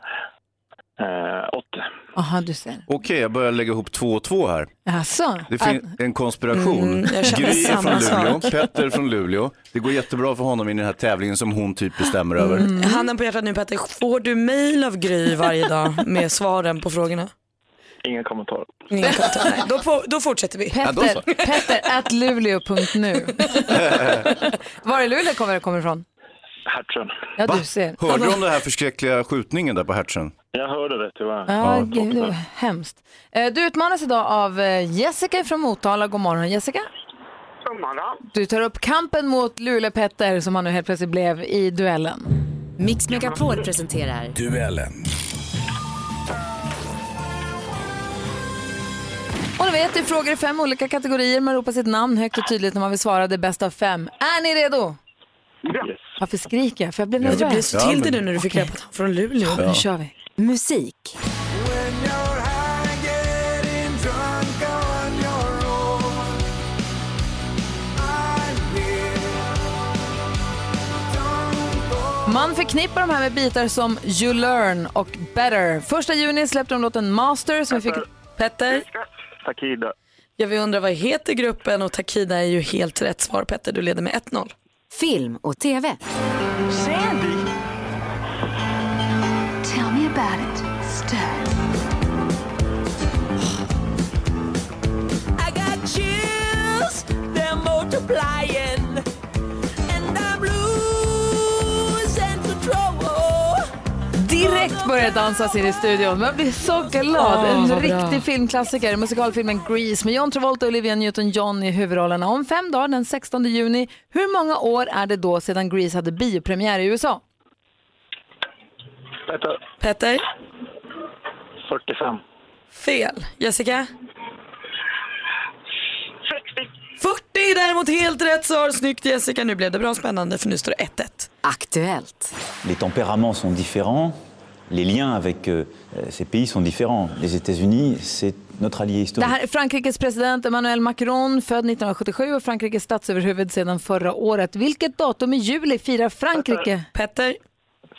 S7: Eh, 80.
S2: Jaha, du ser.
S4: Okej, jag börjar lägga ihop två och två här.
S2: Jaså?
S4: Det finns en konspiration.
S2: Mm, jag känner
S4: Gry är
S2: samma
S4: från Luleå,
S2: sak.
S4: Petter är från Luleå. Det går jättebra för honom i den här tävlingen som hon typ bestämmer över.
S2: Mm.
S4: (laughs)
S3: Handen på hjärtat nu Petter, får du mail av Gry varje dag med svaren på frågorna?
S7: Inga kommentarer.
S3: Ingen kommentar. Nej, då, får- då fortsätter vi.
S2: Petter, Petter at luleå.nu. Var i Luleå kommer det kommer ifrån?
S7: Hertsön.
S2: Ja, du ser.
S4: Hörde du om den här förskräckliga skjutningen där på Hertzen?
S7: Jag hörde det tyvärr.
S2: Ja, gud, det var hemskt. Eh, Du utmanas idag av eh, Jessica från Motala. God morgon Jessica.
S16: God morgon.
S2: Du tar upp kampen mot Luleå-Petter som han nu helt plötsligt blev i duellen.
S12: Mix Megapol presenterar
S17: Duellen.
S2: Och ni vet, det är frågor i fem olika kategorier. Man ropar sitt namn högt och tydligt när man vill svara det bästa av fem. Är ni redo? Varför skriker jag? För jag blev
S3: Ja,
S2: nervös.
S3: du blev så till dig nu när du fick reda på att han är från Luleå.
S2: Ja. Nu kör vi. Musik. Man förknippar de här med bitar som You Learn och Better. Första juni släppte de låten Master som vi fick... Petter?
S7: Takida.
S3: Jag vill undra vad heter gruppen och Takida är ju helt rätt svar Petter, du leder med 1-0.
S12: film och tv.
S18: Sandy. Tell me about it, Stir.
S5: I got chills, they're multiplying, and I'm losing control.
S2: Direkt börjar dansa in i studion. Man blir så glad.
S5: Åh,
S2: en
S5: vad
S2: riktig
S5: bra.
S2: filmklassiker. Musikalfilmen Grease med John Travolta och Olivia Newton-John i huvudrollerna. Om fem dagar, den 16 juni, hur många år är det då sedan Grease hade biopremiär i USA?
S7: Petter.
S3: Petter?
S7: 45.
S3: Fel. Jessica? 40. 40 är däremot helt rätt svar. Snyggt Jessica, nu blev det bra spännande för nu står det 1-1.
S12: Aktuellt.
S19: Les tempéraments sont différents, les liens avec euh, ces pays sont différents. Les États-Unis, c'est notre allié
S2: Det
S19: historique.
S2: här är Frankrikes president Emmanuel Macron, född 1977 och Frankrikes statsöverhuvud sedan förra året. Vilket datum i juli firar Frankrike?
S3: Petter?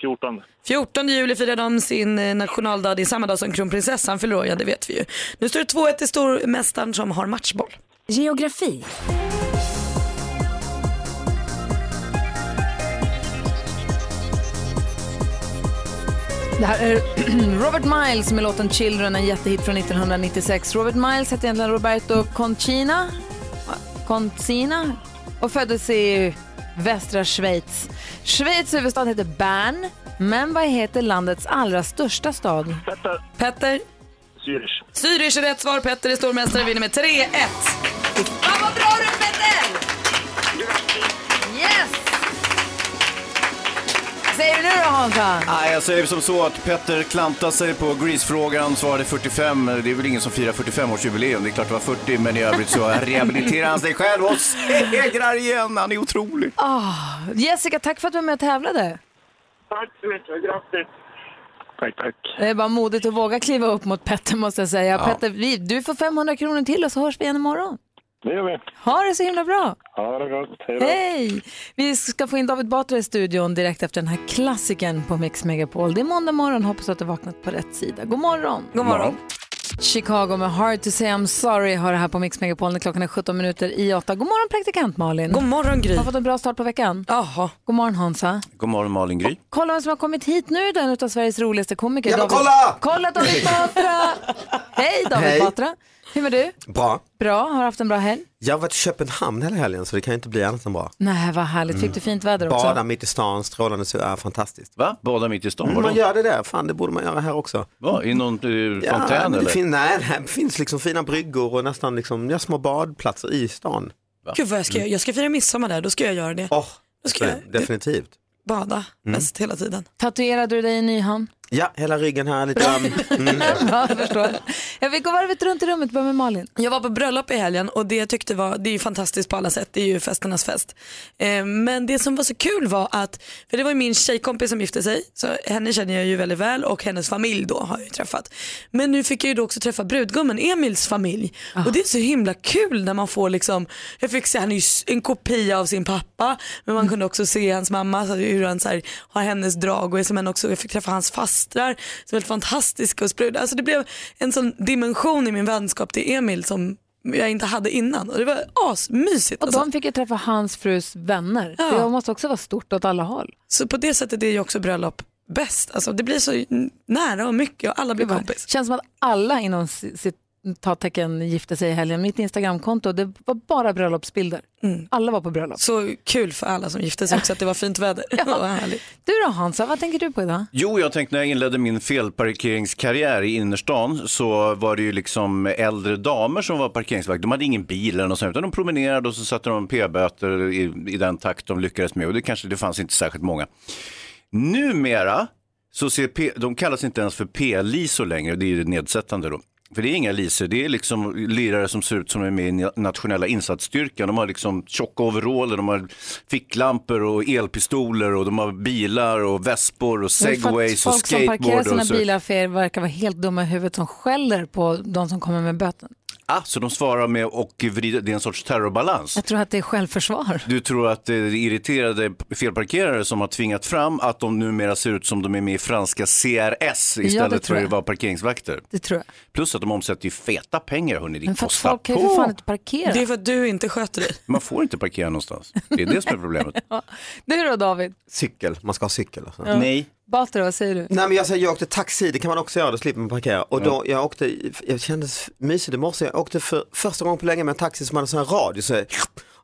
S7: 14.
S3: 14 juli firar de sin eh, nationaldag. Det är samma dag som kronprinsessan fyller år, ja det vet vi ju. Nu står det 2-1 till stormästaren som har matchboll.
S12: Geografi.
S2: Det här är (clears throat) Robert Miles med låten Children, en jättehit från 1996. Robert Miles hette egentligen Roberto Concina, Concina och föddes i västra Schweiz. Schweiz huvudstad heter Bern, men vad heter landets allra största stad?
S3: Petter?
S7: Zürich.
S3: Zürich är rätt svar. Petter är stormästare vinner med 3-1. Fan vad bra du är, Petter!
S2: säger du nu då Hansa?
S4: Nej, jag säger som så att Petter klantade sig på Grease-frågan, svarade 45. Det är väl ingen som firar 45-årsjubileum, det är klart det var 40, men i övrigt så rehabiliterar han sig själv och segrar igen. Han är otrolig.
S2: Ah, Jessica, tack för att du var med och tävlade.
S16: Tack så mycket, grattis.
S7: Tack, tack.
S2: Det är bara modigt att våga kliva upp mot Petter måste jag säga.
S7: Ja.
S2: Petter, vi, du får 500 kronor till och så hörs vi igen imorgon.
S7: Det gör vi.
S2: Ha det så himla bra!
S7: Ha det gott. Hej då.
S2: Hej! Vi ska få in David Batra i studion direkt efter den här klassikern på Mix Megapol. Det är måndag morgon, hoppas att du har vaknat på rätt sida. God morgon!
S3: God morgon.
S2: Chicago med Hard to say I'm sorry har det här på Mix Megapol när klockan är 17 minuter i 8. God morgon praktikant Malin!
S3: God morgon, Gry.
S2: Har fått en bra start på veckan?
S3: Jaha.
S2: God morgon Hansa!
S4: God morgon Malin Gry.
S2: Kolla vem som har kommit hit nu, den utav Sveriges roligaste komiker.
S5: Ja, men
S2: David-
S5: kolla!
S2: Kolla
S5: (laughs)
S2: David Batra! Hej David
S17: Hej.
S2: Batra! Hur mår du?
S17: Bra.
S2: Bra, har haft en bra helg?
S17: Jag har varit i Köpenhamn hela helgen så det kan ju inte bli annat än bra.
S2: Nej, vad härligt. Fick
S17: Mm.
S2: du fint väder också?
S17: Bada mitt i stan, strålande sol, är fantastiskt.
S4: Va? Bada mitt i stan?
S17: Mm,
S4: vadå?
S17: man gör det där, fan det borde man göra här också.
S4: Va, I någon eh,
S17: Ja,
S4: fontän
S17: men det
S4: eller?
S17: Fin, nej, nej, det finns liksom fina bryggor och nästan liksom, ja, små badplatser i stan. Mm.
S3: Gud vad jag ska göra. Jag ska fira midsommar där, då ska jag göra det.
S17: Oh,
S3: då ska jag
S17: Definitivt.
S3: bada
S17: Mm.
S3: mest hela tiden.
S2: Tatuerade du dig i (laughs) Nyhamn?
S17: Ja, hela ryggen här lite.
S3: (laughs)
S17: Mm.
S2: Ja, jag förstår. Jag vill gå varvet runt i rummet, börja med Malin.
S3: Jag var på bröllop i helgen och det jag tyckte var, det är ju fantastiskt på alla sätt, det är ju festernas fest. Eh, men det som var så kul var att, för det var ju min tjejkompis som gifte sig, så henne känner jag ju väldigt väl och hennes familj då har jag ju träffat. Men nu fick jag ju då också träffa brudgummen, Emils familj. Och det är så himla kul när man får liksom, jag fick se, han är ju s- en kopia av sin pappa, men
S2: Mm.
S3: man kunde också se hans mamma, så hur han så här, har hennes drag och liksom, men också, jag fick träffa hans fastrar som är helt fantastiska och sprudlar. Alltså det blev en sån dimension i min vänskap till Emil som jag inte hade innan och det var asmysigt.
S2: Och
S3: alltså.
S2: de fick ju träffa hans frus vänner.
S3: Ja.
S2: Det måste också vara stort åt alla håll.
S3: Så på det sättet är ju också bröllop bäst. Alltså det blir så n- nära och mycket och alla blir kompis.
S2: känns som att alla inom ci- citattecken gifte sig i helgen. Mitt Instagramkonto, det var bara bröllopsbilder. Alla var på bröllop.
S3: Mm. Så kul för alla som gifte sig också att det var fint
S2: (laughs)
S3: väder. Vad härligt.
S2: Du då Hansa, vad tänker du på idag?
S4: Jo, jag tänkte när jag inledde min felparkeringskarriär i innerstan så var det ju liksom äldre damer som var parkeringsvakt. De hade ingen bil eller något sånt, utan de promenerade och så satte de p-böter i, i den takt de lyckades med och det kanske det fanns inte särskilt många. Numera så ser P, de kallas inte ens för p-lisor längre, det är ju nedsättande då. För det är inga lisor, det är liksom lirare som ser ut som de är med i na- nationella insatsstyrkan. De har liksom tjocka overaller, de har ficklampor och elpistoler och de har bilar och vespor och
S2: Men för att
S4: segways och
S2: Folk som parkerar
S4: skateboard.
S2: sina
S4: och så.
S2: bilar för er verkar vara helt dumma i huvudet som skäller på de som kommer med böten.
S4: Ah, så de svarar med och vrider, det är en sorts terrorbalans.
S2: Jag tror att det är självförsvar.
S4: Du tror att eh, det är irriterade felparkerare som har tvingat fram att de numera ser ut som de är med i franska CRS
S2: Ja, det
S4: istället
S2: tror
S4: för
S2: jag.
S4: att vara parkeringsvakter.
S2: Det tror jag.
S4: Plus att de omsätter ju feta pengar, hörni. Det
S2: Men för att
S4: kostar
S2: folk kan ju
S4: på.
S2: för fan inte parkera.
S3: Det är för att du inte sköter dig.
S4: Man får inte parkera någonstans. Det är det som är problemet.
S2: Du då David?
S17: Cykel, man ska ha cykel. Alltså.
S2: Ja. Batra, vad säger du?
S17: Nej men jag säger, jag åkte taxi, det kan man också göra, då slipper man parkera. Och då, jag åkte, jag kändes mysigt i morse, jag åkte för första gången på länge med en taxi som hade sån här radio, så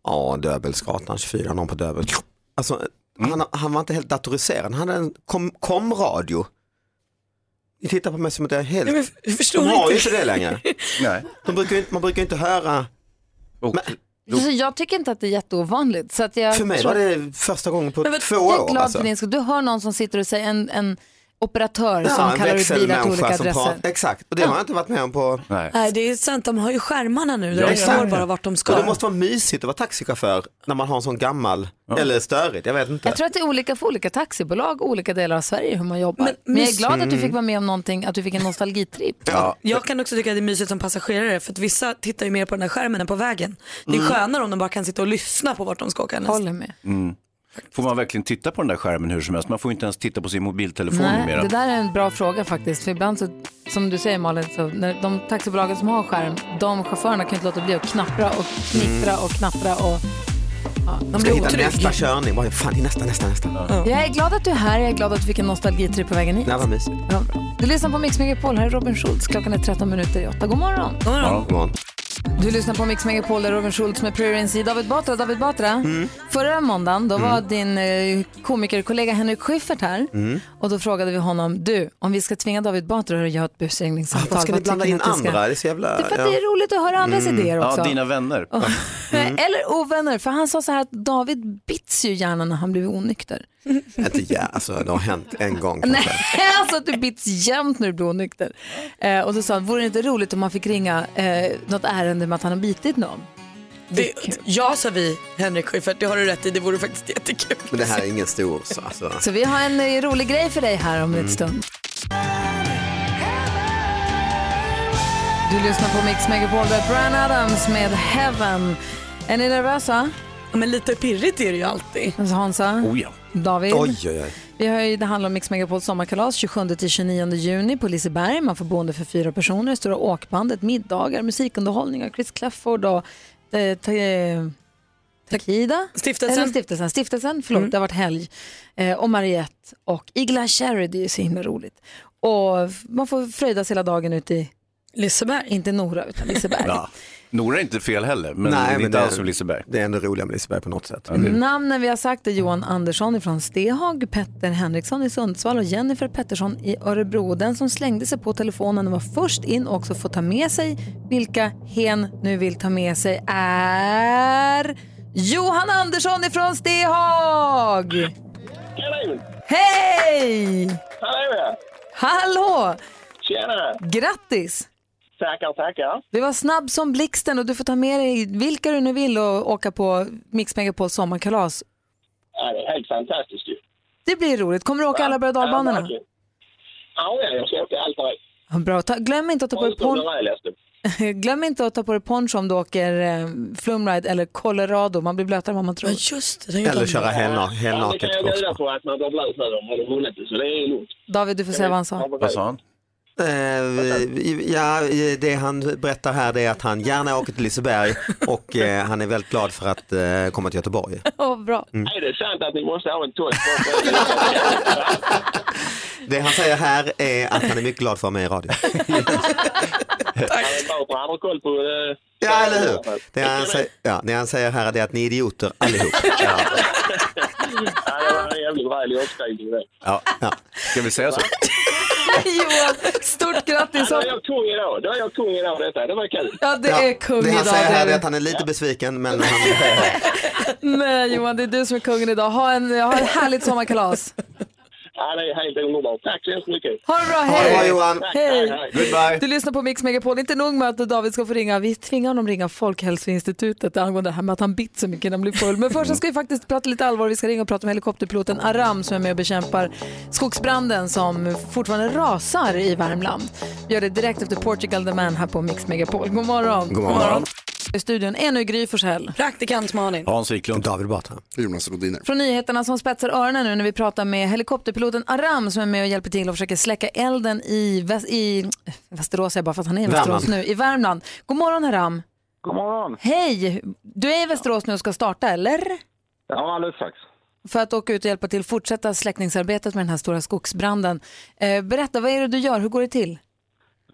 S17: ja, Döbelnsgatan 24, någon på Döbel. Alltså, han, han var inte helt datoriserad, han hade en kom- kom-radio. Ni tittar på mig som att jag är helt...
S3: Nej, men jag förstår
S17: De har ju
S3: inte.
S17: inte det
S2: (laughs)
S17: längre.
S4: Nej.
S17: De brukar ju inte, man brukar ju inte höra. Men-
S2: Alltså, jag tycker inte att det är jätteovanligt. Så att jag
S17: för mig
S2: tror-
S17: var det första gången på
S2: Men vad-
S17: två
S2: Jag är
S17: år.
S2: glad
S17: alltså.
S2: för din skull. Du hör någon som sitter och säger en, en operatör som
S17: en
S2: kallar ut bilar till
S17: växelmänniska
S2: olika
S17: som
S2: adresser.
S17: pratar- Exakt, och det har jag inte varit med om på...
S3: Nej det är sant, de har ju skärmarna nu där det står bara vart de
S17: Och
S3: ska.
S17: det måste vara mysigt att vara taxichaufför när man har en sån gammal, eller störigt, jag vet inte.
S2: Jag tror att det är olika för olika taxibolag och olika delar av Sverige hur man jobbar. Men, jag är glad att du
S17: Mm.
S2: fick vara med om någonting, att du fick en nostalgitripp.
S3: Jag kan också tycka att det är mysigt som passagerare för att vissa tittar ju mer på den här skärmen än på vägen. Det är
S4: Mm.
S3: skönare om de bara kan sitta och lyssna på vart de ska åka härnäst.
S2: Håller med.
S4: Mm. Får man verkligen titta på den där skärmen hur som helst? Man får inte ens titta på sin mobiltelefon
S2: Nej,
S4: numera.
S2: det där är en bra fråga faktiskt. För ibland så, som du säger Malin, så när de taxibolagen som har skärm, de chaufförerna kan inte låta bli att knappra och knittra och knappra och ja, de
S17: Mm. ska
S2: blir
S17: hitta
S2: otrygga.
S17: nästa körning, Vad fan, nästa, nästa, nästa.
S2: Jag är glad att du är här, jag är glad att du fick en nostalgitripp på vägen hit.
S17: Det här var mysigt.
S2: Ja, bra. Du lyssnar på Mix Megapol, här är Robin Schultz. Klockan är 13 minuter i 8. God morgon!
S17: Ja, god morgon.
S2: Du lyssnar på Mix Megapol, där Robin Schultz med Prurians i David Batra. David Batra,
S17: Mm.
S2: förra måndagen då var din eh, komikerkollega Henrik Schyffert här.
S17: Mm.
S2: Och då frågade vi honom, du, om vi ska tvinga David Batra att göra ett busringningssamtal,
S17: Varför ska ni blanda
S2: tycker
S17: in
S2: att vi ska-"
S17: andra? Det är så jävla... Mm.
S2: För att det är roligt att höra andras idéer också.
S4: Ja, dina vänner.
S2: Eller ovänner, för han sa så här att David bits ju gärna när han blev
S17: (laughs)
S2: onykter.
S17: Inte ja, alltså det har hänt en gång.
S2: Nej, (laughs) alltså att du bits jämt när du blir onykter. Eh, och så sa han, vore det inte roligt om man fick ringa eh, något ärende med att han har bitit någon?
S3: Det, ja, sa vi, Henrik Schyffert, det har du rätt i. Det vore faktiskt jättekul.
S17: Men det här är ingen stor så, alltså.
S2: Så vi har en eh, rolig grej för dig här om en
S17: Mm.
S2: stund. Du lyssnar på Mix Megapol, det är Brian Adams med Heaven. Är ni nervösa? Alltså,
S3: Men lite pirrigt är det ju alltid.
S2: Hansa?
S17: Oh ja.
S2: David?
S17: Oj, oj, oj.
S2: Vi har ju, det handlar om Mix Megapols sommarkalas 27-29 juni på Liseberg. Man får boende för fyra personer, stora åkbandet, middagar, musikunderhållning av Chris Clafford och eh, ta, eh, Takida.
S3: Stiftelsen. Mm.
S2: Eller stiftelsen, stiftelsen förlåt, det har varit helg. Eh, och Mariette och Igla Cherry, det är ju så himla roligt. Och f- man får fröjdas hela dagen ute i
S3: Liseberg.
S2: Inte Nora, utan Liseberg.
S4: (laughs) Ja. Nora är inte fel heller, men det är inte alls som Liseberg.
S17: Det är ändå roligare med Liseberg på något sätt.
S2: Namnen vi har sagt är Johan Andersson från Stehag, Petter Henriksson i Sundsvall och Jennifer Pettersson i Örebro. Den som slängde sig på telefonen och var först in och också får ta med sig vilka hen nu vill ta med sig är Johan Andersson ifrån Stehag! Hej!
S16: Hallå!
S2: Hallå!
S16: Tjena!
S2: Grattis!
S16: Tackar, tackar.
S2: Du var snabb som blixten och du får ta med dig vilka du nu vill och åka på Mix Megapols sommarkalas.
S16: Ja, det är helt fantastiskt ju.
S2: Det blir roligt. Kommer du åka alla berg och dalbanorna?
S16: Ja, ja, jag ska åka allt där.
S2: Ja, Bra. Ta, glöm, inte att ta på dig
S16: Förutom
S2: pon-
S16: den här lästen.
S2: (laughs) glöm inte att ta på dig poncho om du åker eh, flumride eller Colorado. Man blir blötare än vad man tror.
S3: Just det,
S17: Eller köra helna-
S16: Ja, det
S17: helnaket.
S16: kan jag bjuda på att man blir blöt när de har vunnit det, så det är lugnt.
S2: David, du får säga vad han sa.
S17: Vad
S2: (laughs)
S17: sa han? ja, eh, det han berättar här det är att han gärna åker till Liseberg och eh, han är väldigt glad för att eh, komma till
S2: (laughs)
S17: Göteborg.
S2: Oh, bra.
S17: Mm.
S16: Är det sant att ni måste ha en
S17: (laughs)
S16: tolk?
S17: Det han säger här är att han är mycket glad för att vara med i radio.
S16: Tack. Det är bra, för han har koll på... eh,
S17: Ja, eller hur? Det han, säger, ja, det han säger här är det att ni är idioter allihop.
S16: Ja, det var en jävligt härlig uppskrivning det.
S17: Ja, ja.
S4: Ska vi säga så?
S2: (laughs) Johan, stort grattis!
S16: Ja, då är jag kung idag. Då är jag kung idag detta. Det var kul.
S2: Ja, det
S17: Ja,
S2: är kung
S17: Det han
S2: idag.
S17: säger här
S2: David.
S17: är att han är lite besviken men han
S2: (laughs) Nej, Johan, det är du som är kungen idag. Ha, en, ha ett härligt sommarkalas.
S16: Ja, det är helt underbart. Tack så hemskt mycket.
S2: Ha det bra, hej!
S16: Tack,
S2: Hej!
S16: hej, hej.
S2: Du lyssnar på Mix Megapol. Inte nog med att David ska få ringa, vi tvingar honom ringa Folkhälsoinstitutet angående det här med att han bitt så mycket när han blev full. Men först så ska vi faktiskt prata lite allvar. Vi ska ringa och prata med helikopterpiloten Aram som är med och bekämpar skogsbranden som fortfarande rasar i Värmland. Vi gör det direkt efter Portugal the Man här på Mix Megapol. God morgon!
S17: God morgon.
S2: I studion är nu Gry Forssell.
S3: Praktikant Malin.
S17: Hans Wiklund. David Batra. Jonas Rodiner.
S2: Från nyheterna som spetsar öronen nu när vi pratar med helikopterpiloten Aram som är med och hjälper till och försöker släcka elden i, väst, i Västerås, jag bara för att han är i
S20: Värmland.
S2: Västerås nu, i Värmland. God morgon Aram.
S20: God morgon.
S2: Hej, du är i Västerås nu och ska starta eller?
S20: Ja, alldeles strax.
S2: För att åka ut och hjälpa till fortsätta släckningsarbetet med den här stora skogsbranden. Eh, berätta, vad är det du gör, hur går det till?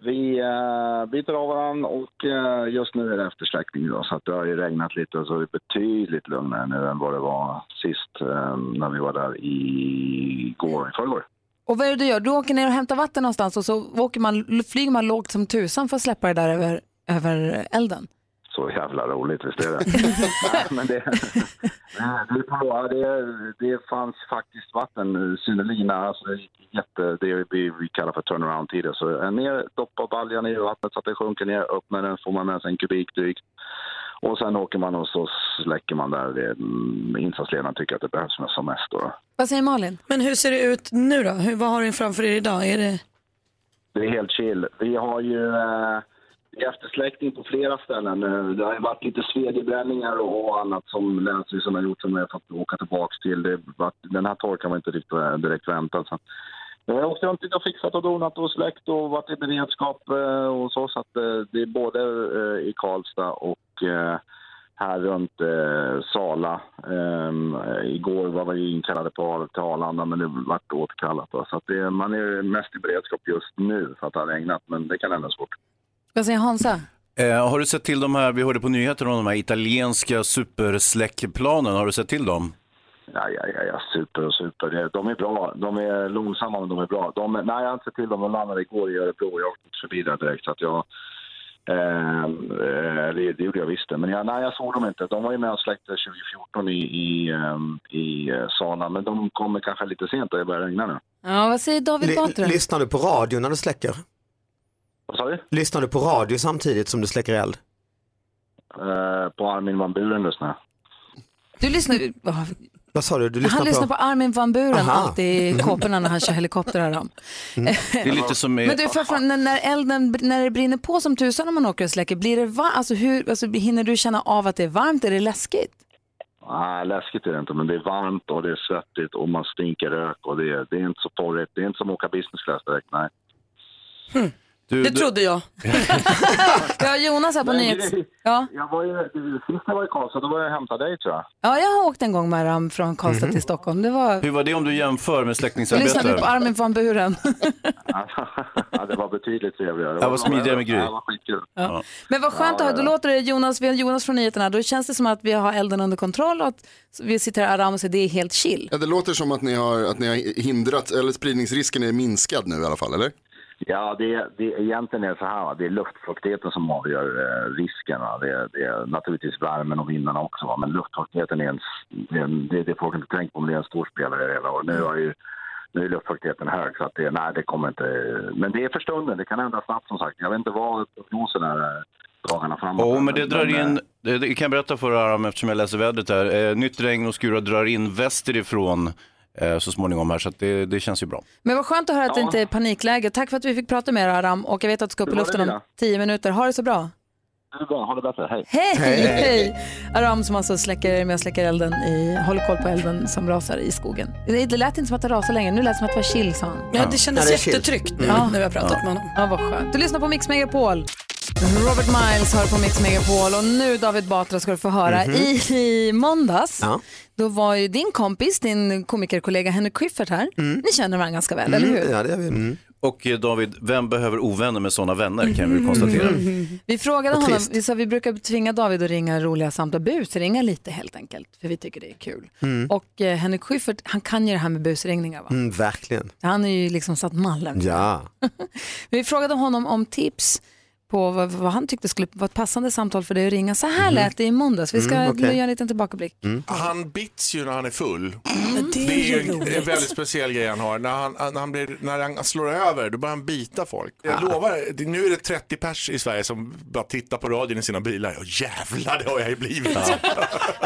S20: Vi eh, byter av varandra och eh, just nu är det eftersläckning idag så att det har ju regnat lite och så är det betydligt lugnare nu än vad det var sist eh, när vi var där i går, i förrgår.
S2: Och vad är det du gör? Du åker ner och hämtar vatten någonstans och så åker man, flyger man lågt som tusan för att släppa det där över, över elden.
S20: Så jävla roligt, visst är det? Nej, men det, (laughs) Nej, det, är på, det, det fanns faktiskt vatten, synnerligen nära, alltså det gick jätte, det vi, vi kallar för turnaround-tider. Så eh, ner, doppa baljan i vattnet så att det sjunker ner, upp med den, får man med sig en kubik drygt. Och sen åker man och så släcker man där det, mm, insatsledaren tycker att det behövs som- som mest. Då. då.
S2: Vad säger Malin?
S3: Men hur ser det ut nu då? Hur, vad har du framför er idag? Är det...
S20: Det är helt chill. Vi har ju eh, det är eftersläckning på flera ställen nu. Det har ju varit lite svedjebränningar och och annat som länsstyrelsen har gjort som vi har fått åka tillbaka till. Det, var- den här torkan var inte riktigt, eh, direkt väntad. Så. Jag har åkt runt lite och fixat och donat och släckt och varit i beredskap eh, och så. Så att eh, det är både eh, i Karlstad och eh, här runt eh, Sala. Ehm, eh, igår var vi inkallade på, till Arlanda men det vart återkallat. Då. Så att det, man är mest i beredskap just nu för att det har regnat men det kan ändras fort.
S2: Vad säger Hansa?
S4: Eh, har du sett till de här, vi hörde på nyheterna om de här italienska supersläckplanen, har du sett till dem?
S20: Ja, ja, ja, ja. super och super. Det- De är bra. De är långsamma men de är bra. De, nej, jag har inte sett till dem. De landade igår i Örebro och jag åkte förbi där direkt. Så att jag Ehm, eh, det, det gjorde jag visst det. Men jag, nej, jag såg dem inte. De var ju med och släckte 2014 i, i, ehm, i eh, Sana. Men de kommer kanske lite sent och det börjar regna nu.
S1: Ja, vad säger David Batra?
S17: lyssnar du på radio när du släcker?
S20: Vad sa du?
S17: Lyssnar du på radio samtidigt som du släcker eld?
S20: Eh, på Armin van Buren lyssnar jag.
S2: Du lyssnar, ah,
S17: Vad sa du? Du lyssnar
S2: han lyssnar på
S17: på...
S2: Armin van Buren
S17: Aha.
S2: alltid i kåporna när han kör helikoptrar. Om.
S8: Det är lite som...
S2: Men du, för fan, när, när elden br- när det brinner på som tusan när man åker och släcker, blir det va- alltså, hur, alltså, hinner du känna av att det är varmt? Är det läskigt?
S20: Nej, läskigt är det inte, men det är varmt och det är svettigt och man stinker rök och det är, det är inte så porrigt. Det är inte som att åka business class direkt, nej.
S2: Hm.
S3: det trodde jag.
S2: (laughs) Ja, Jonas här på
S20: Men
S2: nyhets...
S20: grej-
S2: Ja.
S20: Jag var ju, sist jag var i Karlstad, då var jag och hämtade dig tror jag.
S2: ja, jag har åkt en gång med Ram från Karlstad till Stockholm. Det var...
S8: Hur var det om du jämför med
S2: Lyssnade
S8: släckningsarbete?
S2: du på Armin van Buren?
S20: (laughs) ja, det var betydligt trevligare.
S8: Jag var smidigare med Gry.
S20: Ja, Det var skitkul.
S2: Ja. Men vad skönt,
S20: Ja,
S2: ja,
S20: ja,
S2: då
S20: ja.
S2: låter det Jonas, vi har Jonas från nyheterna, då känns det som att vi har elden under kontroll och att vi sitter här Aram och säger det är helt chill.
S15: Ja, det låter som att ni, har, att ni har hindrat, eller spridningsrisken är minskad nu i alla fall, eller?
S20: Ja, det, det, egentligen är det så här, va, det är luftfuktigheten som avgör eh, risken. va. Det, det är naturligtvis värmen och vindarna också, va, men luftfuktigheten är en, s- det är en, det, det folk inte tänker på, men det är en stor spelare i det hela. Och nu, har ju, nu är luftfuktigheten hög, så att det, nej, det kommer inte... Men det är för stunden, det kan ändra snabbt som sagt. Jag vet inte vad prognosen är eh, dagarna framåt.
S8: Jo, men det drar
S20: eh,
S8: in, det det kan jag berätta för dig Aram eftersom jag läser vädret här. Eh, nytt regn och skurar drar in västerifrån eh, så småningom här, så att det, det känns ju bra.
S2: Men vad skönt att höra att det
S8: Ja.
S2: inte är panikläge. Tack för att vi fick prata med er Aram och jag vet att du ska upp i
S20: Det var det
S2: luften om
S20: lilla.
S2: tio minuter. Ha det så bra.
S20: Det är bra, ha det bättre, hej.
S2: Hej! (laughs) Hej! Aram som alltså släcker, med och släcker elden i, håller koll på elden som rasar i skogen. Det det lät inte som att det rasade längre, nu lät det som att det var chill sa han.
S3: Ja, det kändes Ja, det är chill. jättetryggt nu när vi har pratat med honom.
S2: Ja, vad skönt. Du lyssnar på Mix Megapol. Robert Miles har på Mix Megapol och nu David Batra ska du få höra.
S12: Mhm.
S2: I, I måndags,
S12: Ja.
S2: då var ju din kompis, din komikerkollega Henrik Schyffert här. Ni känner varandra ganska väl,
S9: Mm.
S4: Mm,
S2: eller
S17: det
S2: hur?
S17: vi.
S8: Och eh, David, vem behöver ovänner med sådana vänner kan vi
S9: Mm.
S8: väl konstatera.
S2: Vi frågade
S8: Vad
S2: honom,
S8: trist.
S2: vi, sa, vi brukar tvinga David att ringa roliga samtal, busringa lite helt enkelt, för vi tycker det är kul.
S21: Mm.
S2: Och eh, Henrik Schyffert, han kan ju det här med busringningar va?
S17: Mm, verkligen.
S2: Han är ju liksom satt mallen.
S17: Ja.
S2: Vi frågade honom om tips på vad, vad han tyckte skulle vara ett passande samtal för dig att ringa. Så här lät det i måndags, vi ska
S21: Mm, okej.
S2: göra en liten tillbakablick.
S21: Han bits ju när han är full.
S2: det är
S21: ju
S2: ju
S21: en,
S2: roligt.
S21: en väldigt speciell grej han har. När han, eh, när, han blir, när han slår över då börjar han bita folk. Jag lovar, det- nu är det 30 pers i Sverige som bara tittar på radion i sina bilar. Ja jävlar, det har jag ju blivit.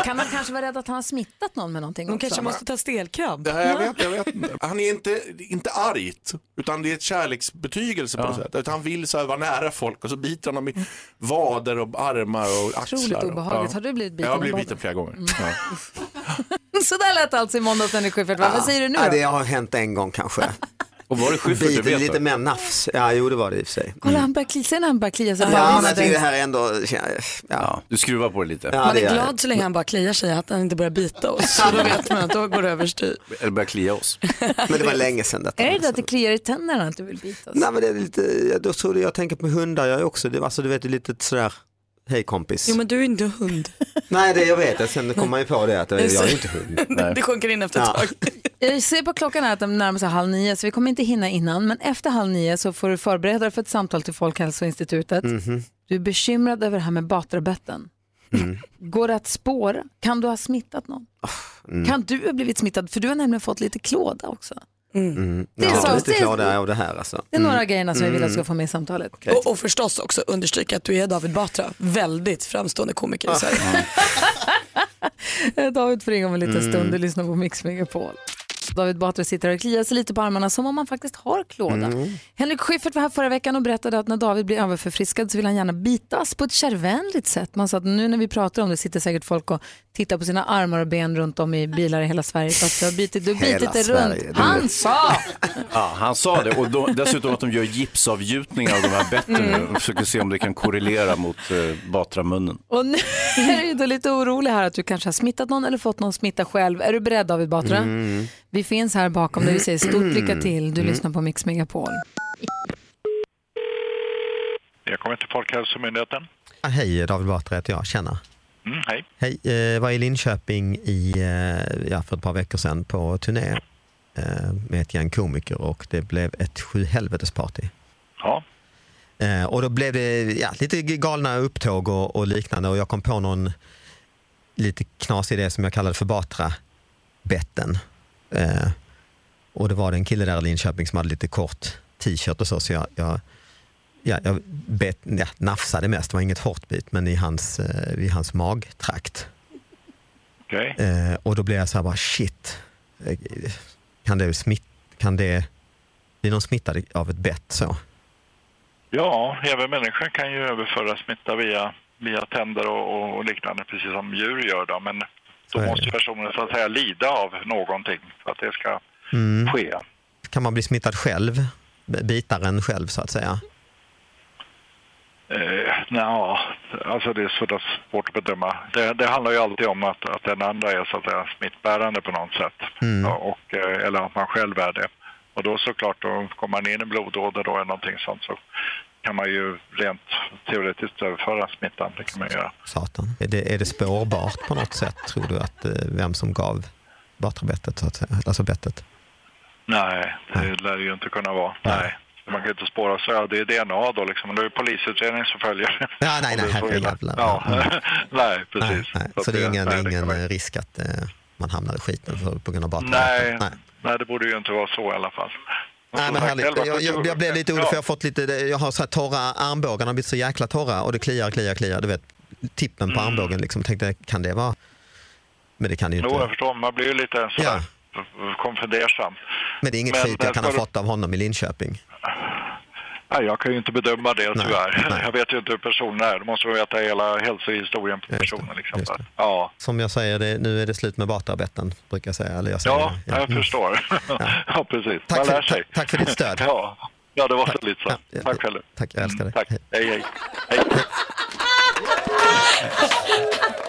S2: Kan man kanske vara rädd att han har smittat någon med någonting
S21: De
S2: också?
S21: kanske måste
S3: ta stelkramp.
S21: Det här, jag, vet, jag vet inte. Han är inte, inte argt, utan det är ett kärleksbetygelse på något sätt. Utan han vill så här vara nära folk och så biter han dem i vader och armar och axlar. och-
S2: obehagligt. Har du blivit biten
S21: Jag har blivit
S2: i Mm.
S21: biten flera gånger. Ja.
S2: (laughs) Så där lät det alltså i måndags Henrik Schyffert, va? vad
S21: Ah.
S2: säger du nu
S17: Ja,
S2: då?
S17: det har hänt en gång kanske.
S8: Och var det
S17: Schyffert
S8: du vet
S17: lite
S8: då?
S17: mer nafs. Ja, jo det var det i och för sig.
S2: Kolla, han börjar klia, ser när han börjar klia sig.
S17: Ja, men jag tycker det här är ändå, ja. ja.
S8: Du skruvar på det lite.
S3: Man är glad så länge han bara kliar sig att han inte börjar
S17: (laughs)
S3: bita oss. Så då vet man att då går det överstyr.
S8: Eller börjar klia oss.
S17: Men det var länge sedan detta.
S2: Är det
S21: alltså.
S2: det att det kliar i tänderna att du vill bita?
S17: Nej men det är lite, jag, då tror jag, jag tänker på hundar jag är också, det, alltså du vet det är lite sådär, hej kompis.
S3: Jo men du är inte hund.
S17: Nej det jag vet, sen kom man ju på det att eh, jag är ju inte hund.
S3: (laughs) Det sjunker in efter ett tag.
S2: Jag ser på klockan här att de närmar sig halv nio så vi kommer inte hinna innan. Men efter halv nio så får du förbereda dig för ett samtal till Folkhälsoinstitutet.
S17: Mhm.
S2: Du är bekymrad över det här med batrabötten.
S17: Mm.
S2: Går det att spåra? Kan du ha smittat någon?
S17: Mm.
S2: Kan du ha blivit smittad? För du har nämligen fått lite klåda också.
S17: Mm.
S2: Det är
S17: jag
S2: så-
S17: är lite
S2: det är-
S17: glad av det här alltså.
S2: Det är några
S17: Mm.
S2: grejerna som vi vill att du ska
S17: Mm.
S2: få med i samtalet.
S3: Och, och förstås också understryka att du är David Batra, väldigt framstående komiker i Sverige.
S5: (laughs)
S2: (laughs) David får ringa om en liten
S3: Mm.
S2: stund och lyssna på Mix Megapol. David Batra sitter och kliar sig lite på armarna som om han faktiskt har klåda. Henrik Schyffert var här förra veckan och berättade att när David blir överförfriskad så vill han gärna bitas på ett kärvänligt sätt. Man sa att nu när vi pratar om det sitter säkert folk och tittar på sina armar och ben runt om i bilar i hela Sverige fast du har bitit, du har
S8: Hela
S2: bitit det
S8: Sverige,
S2: runt.
S8: det är-
S2: Han sa!
S8: Ja, han sa det och då, dessutom att de gör gipsavgjutningar av de här betten
S9: Mm.
S8: nu och försöker se om det kan korrelera mot eh, batramunnen.
S2: Och nu (laughs) är du ju då lite orolig här att du kanske har smittat någon eller fått någon smitta själv. Är du beredd David Batra?
S8: Mm.
S2: Vi finns här bakom dig. Vi säger stort lycka till. Du
S22: Mm.
S2: lyssnar på Mix Megapol. (laughs)
S22: Jag kommer till Folkhälsomyndigheten.
S17: Ah, Hej, David Batra heter jag, tjena.
S22: Mm, hej.
S17: Hej, eh, var i Linköping i, eh, ja, för ett par veckor sedan på turné eh, med ett gäng komiker och det blev ett sjuhelvetesparty.
S22: Ja.
S17: Eh, och då blev det ja, lite galna upptåg och, och liknande och jag kom på någon lite knasig idé som jag kallade för Batra-betten. Eh, och det var det en kille där i Linköping som hade lite kort t-shirt och så, så jag, jag, ja, jag bet, ja, nafsade mest, det var inget hårt bit, men i hans, eh, i hans magtrakt.
S22: Okej.
S17: Eh, och då blev jag så här bara shit, Eh, kan det, smitt, kan det bli någon smittad av ett bett så?
S22: Ja, även människan kan ju överföra smitta via, via tänder och, och, och liknande, precis som djur gör. Då. Men då måste personen så att säga lida av någonting för att det ska
S17: Mm.
S22: ske.
S17: Kan man bli smittad själv? B- Bitaren själv så att säga?
S22: Eh, nja, alltså det är sådär svårt att bedöma. Det, det handlar ju alltid om att, att den andra är så att säga, smittbärande på något sätt.
S17: Mm.
S22: Ja, och, eh, eller att man själv är det. Och då såklart, då kommer man in i blodåder då eller någonting sånt så kan man ju rent teoretiskt överföra smittan. Det kan man göra.
S17: Satan. Är det, är det spårbart på något sätt tror du att eh, vem som gav batrabettet så att säga? Alltså bettet?
S22: Nej, det lär det ju inte kunna vara. Nej. Man kan ju inte spåra så. Ja, det är DNA då liksom. Men det är ju polisutredning som följer.
S17: Ja, nej, Mm.
S22: Om det
S17: nej,
S22: är så illa.
S17: herrejävlar.
S22: Ja, (laughs) nej, precis.
S17: Nej,
S22: Så
S17: så det är ingen,
S22: nej,
S17: det är ingen risk att eh, man hamnar i skiten för, på grund av
S22: Nej,
S17: batrabettet?
S22: nej. det borde ju inte vara så i alla fall.
S17: Nej, men härligt. Jag, jag, jag blev lite orolig för jag har fått lite, jag har så här torra armbågarna har blivit så jäkla torra och det kliar, kliar, kliar. Du vet, tippen
S22: Mm.
S17: på armbågen liksom. Tänkte, kan det vara? Men det kan det ju
S22: Jo,
S17: inte.
S22: jag förstår. Man blir ju lite sådär konfundersam.
S17: Men det är inget
S22: Men,
S17: skit
S22: eh,
S17: jag kan ha
S22: ska du-
S17: fått av honom i Linköping.
S22: Nej, jag kan ju inte bedöma det tyvärr. Jag vet ju inte hur personen är. Då måste man veta hela hälsohistorien på personen. Liksom. Ja,
S17: Som jag säger, det, nu är det slut med batarbetten, brukar jag säga. Eller jag säger,
S22: ja, jag
S17: Mm.
S22: förstår. (laughs) ja, precis.
S17: Tack
S22: man
S17: för-
S22: lär sig.
S17: tack- tack för ditt stöd.
S22: ja. ja, det var så lite så. tack själv.
S17: Tack, jag älskar dig.
S22: Tack. Hej, hej.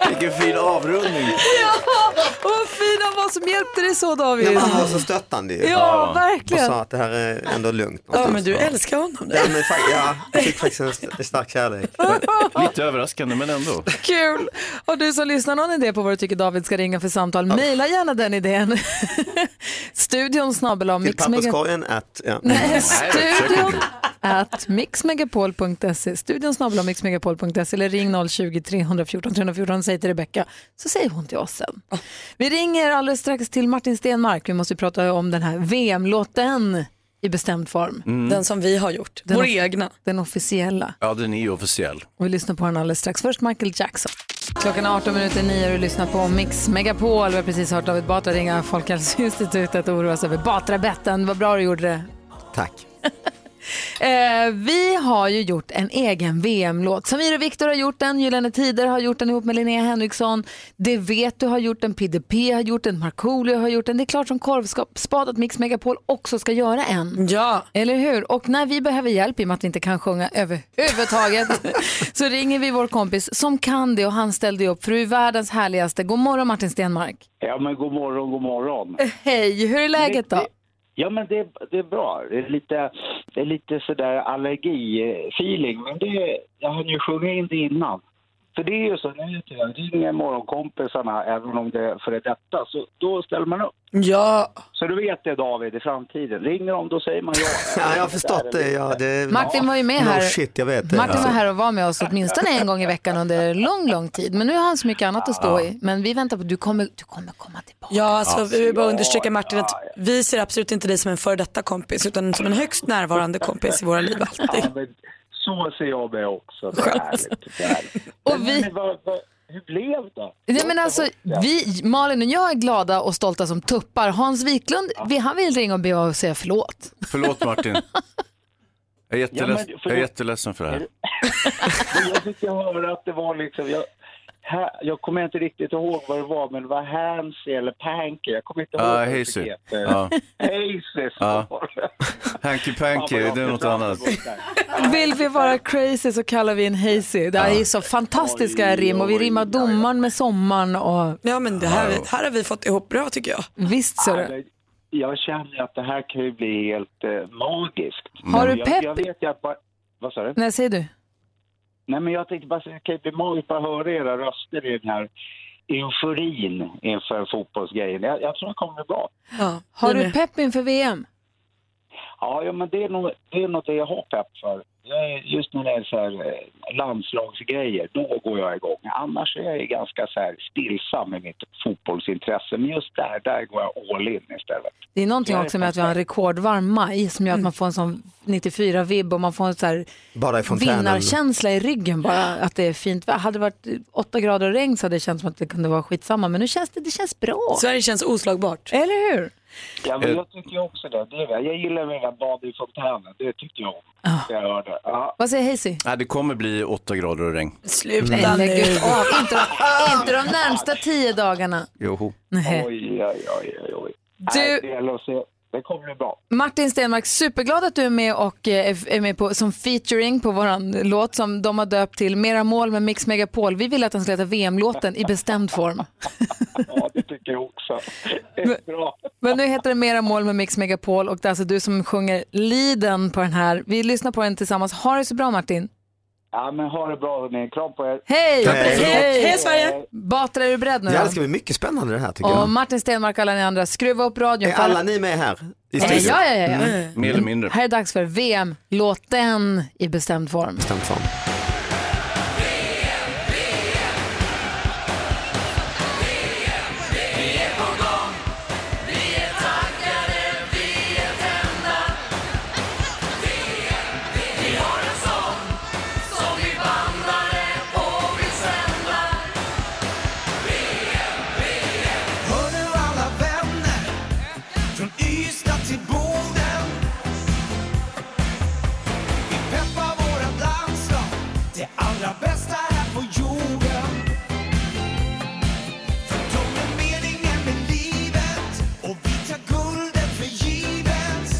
S16: Vilken fin avrundning.
S2: Ja, och vad fin han var som hjälpte dig så David.
S16: Nej, men han var
S8: alltså,
S16: så stöttande ju.
S2: Ja, verkligen.
S16: Och sa att det här är ändå lugnt.
S3: Ja, men du älskar honom.
S16: Ja, men, fa- ja, jag fick faktiskt en st- stark
S2: (laughs)
S16: kärlek.
S4: Lite överraskande men ändå.
S2: Kul! Och du som lyssnar, någon idé på vad du tycker David ska ringa för samtal? Mejla gärna
S16: (laughs)
S2: den idén. Studion snabel om
S16: Till papperskorgen att... Ja.
S2: Nej,
S16: försök
S2: studion
S16: inte.
S2: at mixmegapol.se. Studion snabel om mixmegapol.se eller ring 020-314 314 säg till Rebecka så säger hon till oss sen. Vi ringer alldeles strax till Martin Stenmark. Vi måste prata om den här VM-låten i bestämd form.
S4: Mm. Den som
S2: vi har gjort,
S3: Vår
S2: egna. Den officiella.
S4: Ja, den är ju officiell.
S2: Och vi lyssnar på den alldeles strax. Först Michael Jackson. Klockan är 18 minuter 9 och du lyssnar på Mix Megapol. Vi har precis hört David Batra ringa Folkhälsoinstitutet och oroa sig över Batrabetten. Vad bra du gjorde det.
S16: Tack.
S2: (laughs) Eh, vi har ju gjort en egen VM-låt. Samir och Viktor har gjort den, Gyllene Tider har gjort den ihop med Linnea Henriksson. Det vet du har gjort den, PDP har gjort den, Markoolio har gjort den. Det är klart som korvspad att Mix Megapol också ska göra en. Ja. Eller hur? Och när vi behöver hjälp i och med att vi inte kan sjunga överhuvudtaget (laughs) så ringer vi vår kompis som kan det och han ställde ju upp för du är världens härligaste. God morgon Martin Stenmark.
S9: Ja, men god morgon,
S20: (laughs)
S9: god morgon.
S2: Hej, hur är läget då?
S9: Ja, men det, det är bra. Det är lite, det är lite sådär allergifeeling, men det, jag har ju sjungit in det innan. För det är ju så, när jag ringer morgonkompisarna, även om det är före detta, så då ställer man upp.
S3: Ja.
S9: Så du vet det David, i framtiden. Ringer de, då säger man ja.
S16: Ja, jag har förstått det. Ja, det
S2: Martin var ju med
S16: no
S2: här.
S16: shit, jag vet det.
S2: Martin
S17: alltså-
S2: var
S16: Ja.
S2: här och var med oss åtminstone en gång i veckan under lång, lång tid. Men nu har han så mycket annat att stå i. Men vi väntar på, du kommer, du kommer komma till
S3: Ja, alltså, vi vill bara understryka Martin att vi ser absolut inte dig som en före detta kompis utan som en högst närvarande kompis i våra liv alltid.
S9: Ja, men så ser jag mig också.
S3: (laughs)
S9: Det är härligt. Det är härligt.
S2: Och vi...
S9: Men vad, vad, hur blev det?
S2: Nej, men alltså, vi, Malin och jag är glada och stolta som tuppar. Hans Wiklund, vi, han vill ringa och be och säga förlåt.
S4: Förlåt Martin. Jag är,
S9: Ja,
S4: jätteledsen,
S9: men
S4: jag är
S9: förlåt.
S4: jätteledsen för det
S2: (laughs)
S4: här.
S9: Men jag fick ju höra att det var liksom, jag, här, jag kommer inte riktigt ihåg vad det var, men det var Hansi eller Panky. Jag kommer inte ihåg
S4: Ja,
S9: vad det
S4: Hazy.
S9: heter.
S4: Ja.
S9: (laughs) Hazy,
S4: Ja.
S9: så. (laughs)
S4: Hanky Panky,
S9: Ja, vad jag
S4: det är något
S9: ser fram
S4: annat.
S2: (laughs) Vill vi vara crazy så kallar vi en hazy. Det här är så fantastiska rim och vi rimmar domaren med sommaren. Och...
S3: Ja, men det här, här har vi fått ihop bra tycker jag.
S2: Visst ser du.
S9: Jag känner ju att det här kan ju bli helt eh, magiskt.
S2: Har du
S9: Jag,
S2: pepp?
S9: jag vet ju att bara, vad sa du?
S2: Nej, säger du?
S9: Nej, men jag tänkte bara säga, det kan ju bli magiskt att höra era röster i den här euforin inför fotbollsgrejen. Jag, jag tror det kommer bli bra.
S2: Har du pepp inför VM?
S9: Ja, ja men det är, nog, det är nog det jag har pepp för. jag är, just när det är så här eh, landslagsgrejer, då går jag igång. Annars är jag ju ganska så här stillsam i mitt fotbollsintresse. Men just där, där går jag all in istället.
S2: Det är någonting också med att vi har en rekordvarm maj som gör att man får en sån 94-vibb och man får en sån här
S6: Bara i fontänen.
S2: vinnarkänsla i ryggen bara att det är fint. Hade det varit 8 grader och regn så hade det känts som att det kunde vara skitsamma men nu känns det, det känns bra.
S3: Sverige känns oslagbart.
S2: Eller hur?
S9: Ja,
S2: Eh.
S9: men jag tycker ju också det. det är, väl- jag gillar väl att bada i fontänen. Det tyckte jag om.
S2: Ah.
S9: Jag hörde. Ja.
S2: Vad säger Hazy?
S8: Nej, det kommer bli åtta grader och regn. Mm.
S3: Sluta
S2: Nej, lägg ut av. Inte de, inte de närmsta tio dagarna.
S8: Joho.
S2: Nej.
S9: Oj, oj, oj, oj, oj.
S2: Du-
S9: Nej, det gäller att se. Det kommer bli bra.
S2: Martin Stenmark, superglad att du är med och eh, är med på, som featuring på våran låt som de har döpt till Mera mål med Mix Megapol. Vi ville att den skulle heta VM-låten i bestämd form.
S9: Ja, det tycker jag också. Det är bra.
S2: Men nu heter den Mera mål med Mix Megapol och det är alltså du som sjunger liden på den här. Vi lyssnar på den tillsammans. Ha det så bra Martin.
S9: Ja, men ha det bra hörni. Kram på er.
S2: Hej!
S6: Hej.
S9: Hej,
S2: Sverige! Batra, är du beredd nu?
S6: Ja, det
S2: då?
S6: ska bli mycket spännande det här tycker
S2: Och
S6: jag.
S2: Martin Stenmark och alla ni andra, skruva upp radion.
S6: Är
S2: för-
S6: alla ni med här? i
S2: Eh, Ja,
S6: studion?
S2: ja, ja, ja.
S6: Mm.
S8: Mer eller mindre.
S2: Här är dags för VM-låten i bestämd form.
S6: Bestämt form.
S5: Hör nu alla vänner från Ystad till Boden. Vi peppar vårat landslag, det allra bästa här på jorden. För de är meningen med livet och vi tar guldet för givet.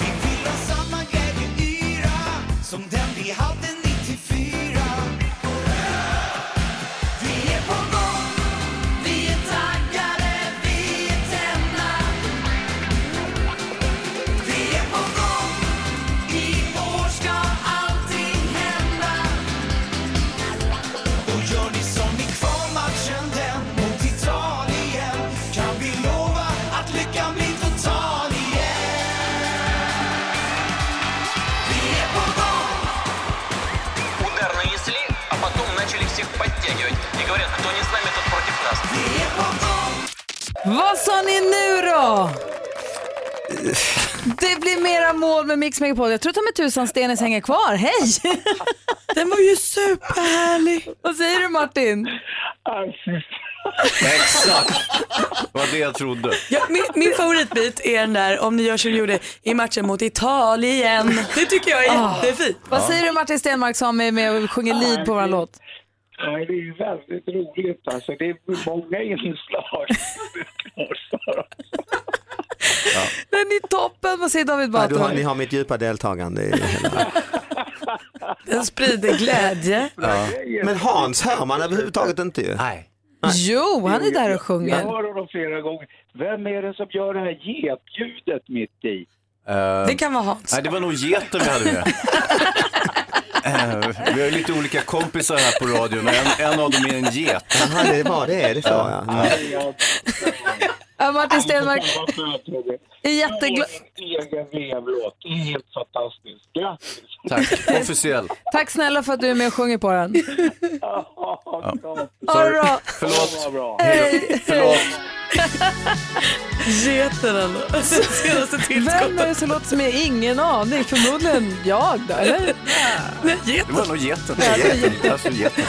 S5: Vi vill ha samma glädjeyra som den vi hade 94. Vi är på gång vi är taggade, vi är tända Vi är på gång I år ska allting hända Och gör ni som i kvalmatchen den mot Italien kan vi lova att lyckan blir total igen Vi är på gång
S13: Удар нанесли, а потом начали всех подтягивать. И говорят, кто не с нами, тот против нас.
S2: Vad sa ni nu då? Det blir mera mål med Mix Megapol. Jag tror ta med tusan Stenis hänger kvar. Hej! Den var ju superhärlig. Vad säger du Martin?
S8: Exakt. Det var det jag trodde.
S3: Ja, min, min favoritbit är den där om ni gör som ni gjorde i matchen mot Italien. Det tycker jag är jättefint.
S2: Ah. Vad säger du Martin Stenmark som är med och sjunger lead på vår låt?
S9: Nej, det är ju väldigt roligt alltså. Det är många inslag.
S2: Den är toppen. Vad säger David
S6: Ja, du har,
S2: Batra?
S6: ni har mitt djupa deltagande. i
S2: (laughs)
S6: hela-
S2: Den sprider glädje.
S6: Ja. Men Hans hör man överhuvudtaget inte ju.
S8: Nej.
S2: Jo, Oh, han är där och
S9: Jag
S2: sjunger.
S9: hör honom flera gånger. Vem är det som gör det här getljudet mitt i?
S3: Det kan vara Hans.
S8: Eh, Nej, det var nog geten vi hade
S2: (laughs)
S8: med. Eh, vi har ju lite olika kompisar här på radion och en, en av dem är en get.
S6: Jaha, det var det, är det så, ja.
S2: Ja, Martin Stenmark är jätteglad.
S9: Egen VM-låt. Det är helt fantastiskt. Grattis!
S8: Tack, officiell.
S2: Tack snälla för att du är med och sjunger på den.
S8: Ja.
S2: Ha det bra.
S8: Förlåt.
S2: Hej.
S8: Förlåt.
S3: Geten ändå. Det senaste
S2: Vem är
S3: tillskottet.
S2: det som låter som jag? Ingen aning. Förmodligen jag då, eller?
S8: Det var nog geten.
S2: Ja, det var
S8: geten. Alltså, geten.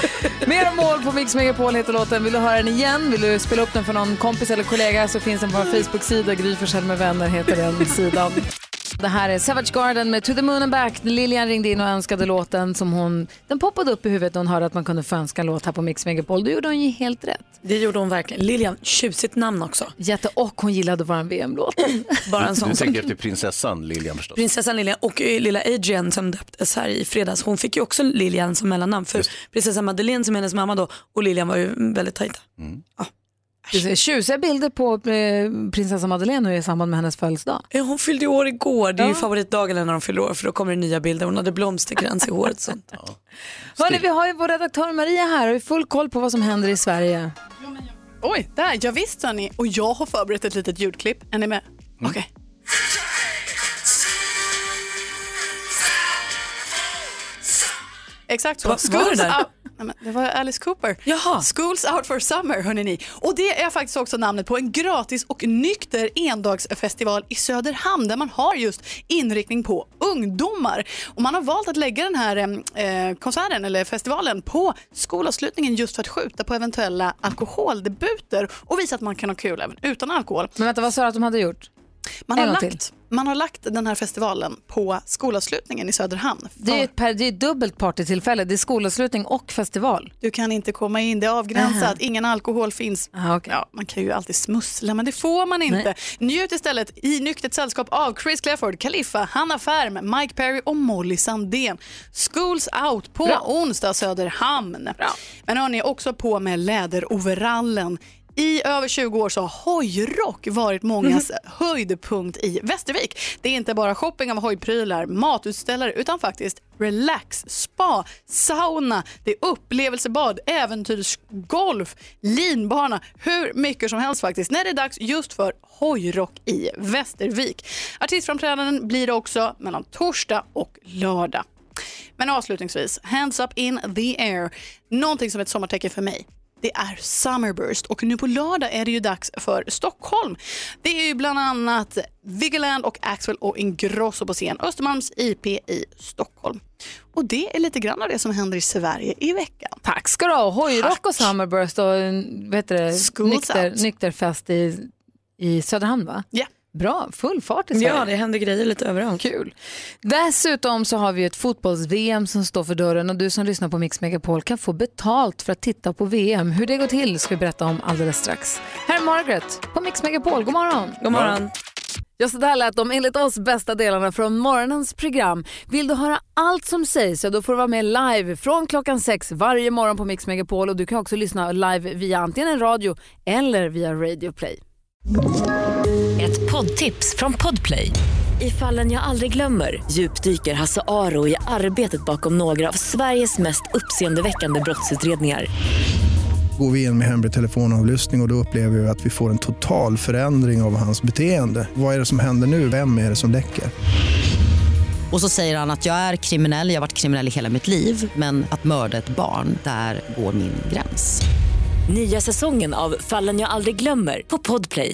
S2: Mer om mål på Mix Megapol heter låten. Vill du höra den igen? Vill du spela upp den för någon kompis eller kollega så finns den på vår Facebook-sida. Gry Forssell med vänner heter den sidan. Det här är Savage Garden med To the Moon and Back. Lilian ringde in och önskade låten som hon... Den poppade upp i huvudet när hon hörde att man kunde få önska en låt här på Mix Megapol. Då gjorde hon ju helt rätt.
S3: Det gjorde hon verkligen. Lilian, tjusigt namn också.
S2: Jätte och hon gillade vår VM-låt.
S3: Bara en
S8: Du
S3: sån sak.
S8: tänker efter prinsessan Lilian förstås.
S3: Prinsessan Lilian och eh, lilla Adrian som döptes här i fredags, hon fick ju också Lilian som mellannamn för prinsessan Madeleine som är hennes mamma då och Lilian var ju väldigt tajta.
S8: Mm.
S2: Du ser Tjusiga bilder på eh, prinsessa Madeleine nu i samband med hennes födelsedag.
S3: Eh, Hon fyllde ju år igår, det är ju
S2: Ja.
S3: favoritdagen när de fyller år för då kommer det nya bilder. Hon hade blomsterkrans i håret och (laughs) sånt.
S2: Hörni, vi har ju vår redaktör Maria här och har full koll på vad som händer i Sverige.
S10: Oj, där. Jag visste hörni. Och jag har förberett ett litet ljudklipp. Är ni med? Okej. exakt så.
S2: Vad var det där?
S10: Out, nej, men det var Alice Cooper. Schools Out for Summer, hörni ni. Och det är faktiskt också namnet på en gratis och nykter endagsfestival i Söderhamn där man har just inriktning på ungdomar. Och man har valt att lägga den här eh, konserten eller festivalen på skolavslutningen just för att skjuta på eventuella alkoholdebuter och visa att man kan ha kul även utan alkohol.
S2: Men vänta, vad sa du att de hade gjort?
S10: Man har,
S2: En gång till.
S10: lagt, man har lagt den här festivalen på skolavslutningen i Söderhamn.
S2: Det är ju ett, per, det är ett dubbelt partytillfälle. Det är skolavslutning och festival.
S10: Du kan inte komma in, det är avgränsat,
S2: Aha.
S10: ingen alkohol finns. ja, man kan ju alltid smussla, men det får man inte.
S2: Nej.
S10: Njut istället i nyktert sällskap av Chris Clafford, Kaliffa, Hanna Färm, Mike Perry och Molly Sandén. Schools out på onsdag Söderhamn. Men hörni, också på med läderoverallen. I över 20 år så har hojrock varit mångas höjdpunkt i Västervik. Det är inte bara shopping av hojprylar, matutställare utan faktiskt relax, spa, sauna, det är upplevelsebad, äventyrsgolf, linbana, hur mycket som helst faktiskt när det är dags just för hojrock i Västervik. Artistframträdanden blir det också mellan torsdag och lördag. Men avslutningsvis, hands up in the air. Någonting som är ett sommartecken för mig. Det är Summerburst och nu på lördag är det ju dags för Stockholm. Det är ju bland annat Vigeland och Axel och Ingrosso på scen. Östermalms IP i Stockholm. Och det är lite grann av det som händer i Sverige i veckan.
S2: Tack ska du ha. Hojrock och Summerburst och en, vad heter det,
S10: Schools
S2: nykter,
S10: out.
S2: nykterfest i, i Söderhamn va?
S10: Ja.
S2: Bra, full fart i Sverige.
S3: Ja, det händer grejer lite överallt.
S2: Kul. Dessutom så har vi ju ett fotbolls-VM som står för dörren och du som lyssnar på Mix Megapol kan få betalt för att titta på VM. Hur det går till ska vi berätta om alldeles strax. Här är Margaret på Mix Megapol. God morgon.
S3: God morgon.
S1: Ja, så där lät de enligt oss bästa delarna från morgonens program. Vill du höra allt som sägs, ja, då får du vara med live från klockan sex varje morgon på Mix Megapol. Och du kan också lyssna live via antingen en radio eller via Radio Play.
S11: Ett poddtips från Podplay. I fallen jag aldrig glömmer djupdyker Hasse Aro i arbetet bakom några av Sveriges mest uppseendeväckande brottsutredningar.
S14: Går vi in med hemlig telefonavlyssning och, och då upplever vi att vi får en total förändring av hans beteende. Vad är det som händer nu? Vem är det som läcker?
S23: Och så säger han att jag är kriminell, jag har varit kriminell i hela mitt liv men att mörda ett barn, där går min gräns.
S11: Nya säsongen av Fallen jag aldrig glömmer på Podplay.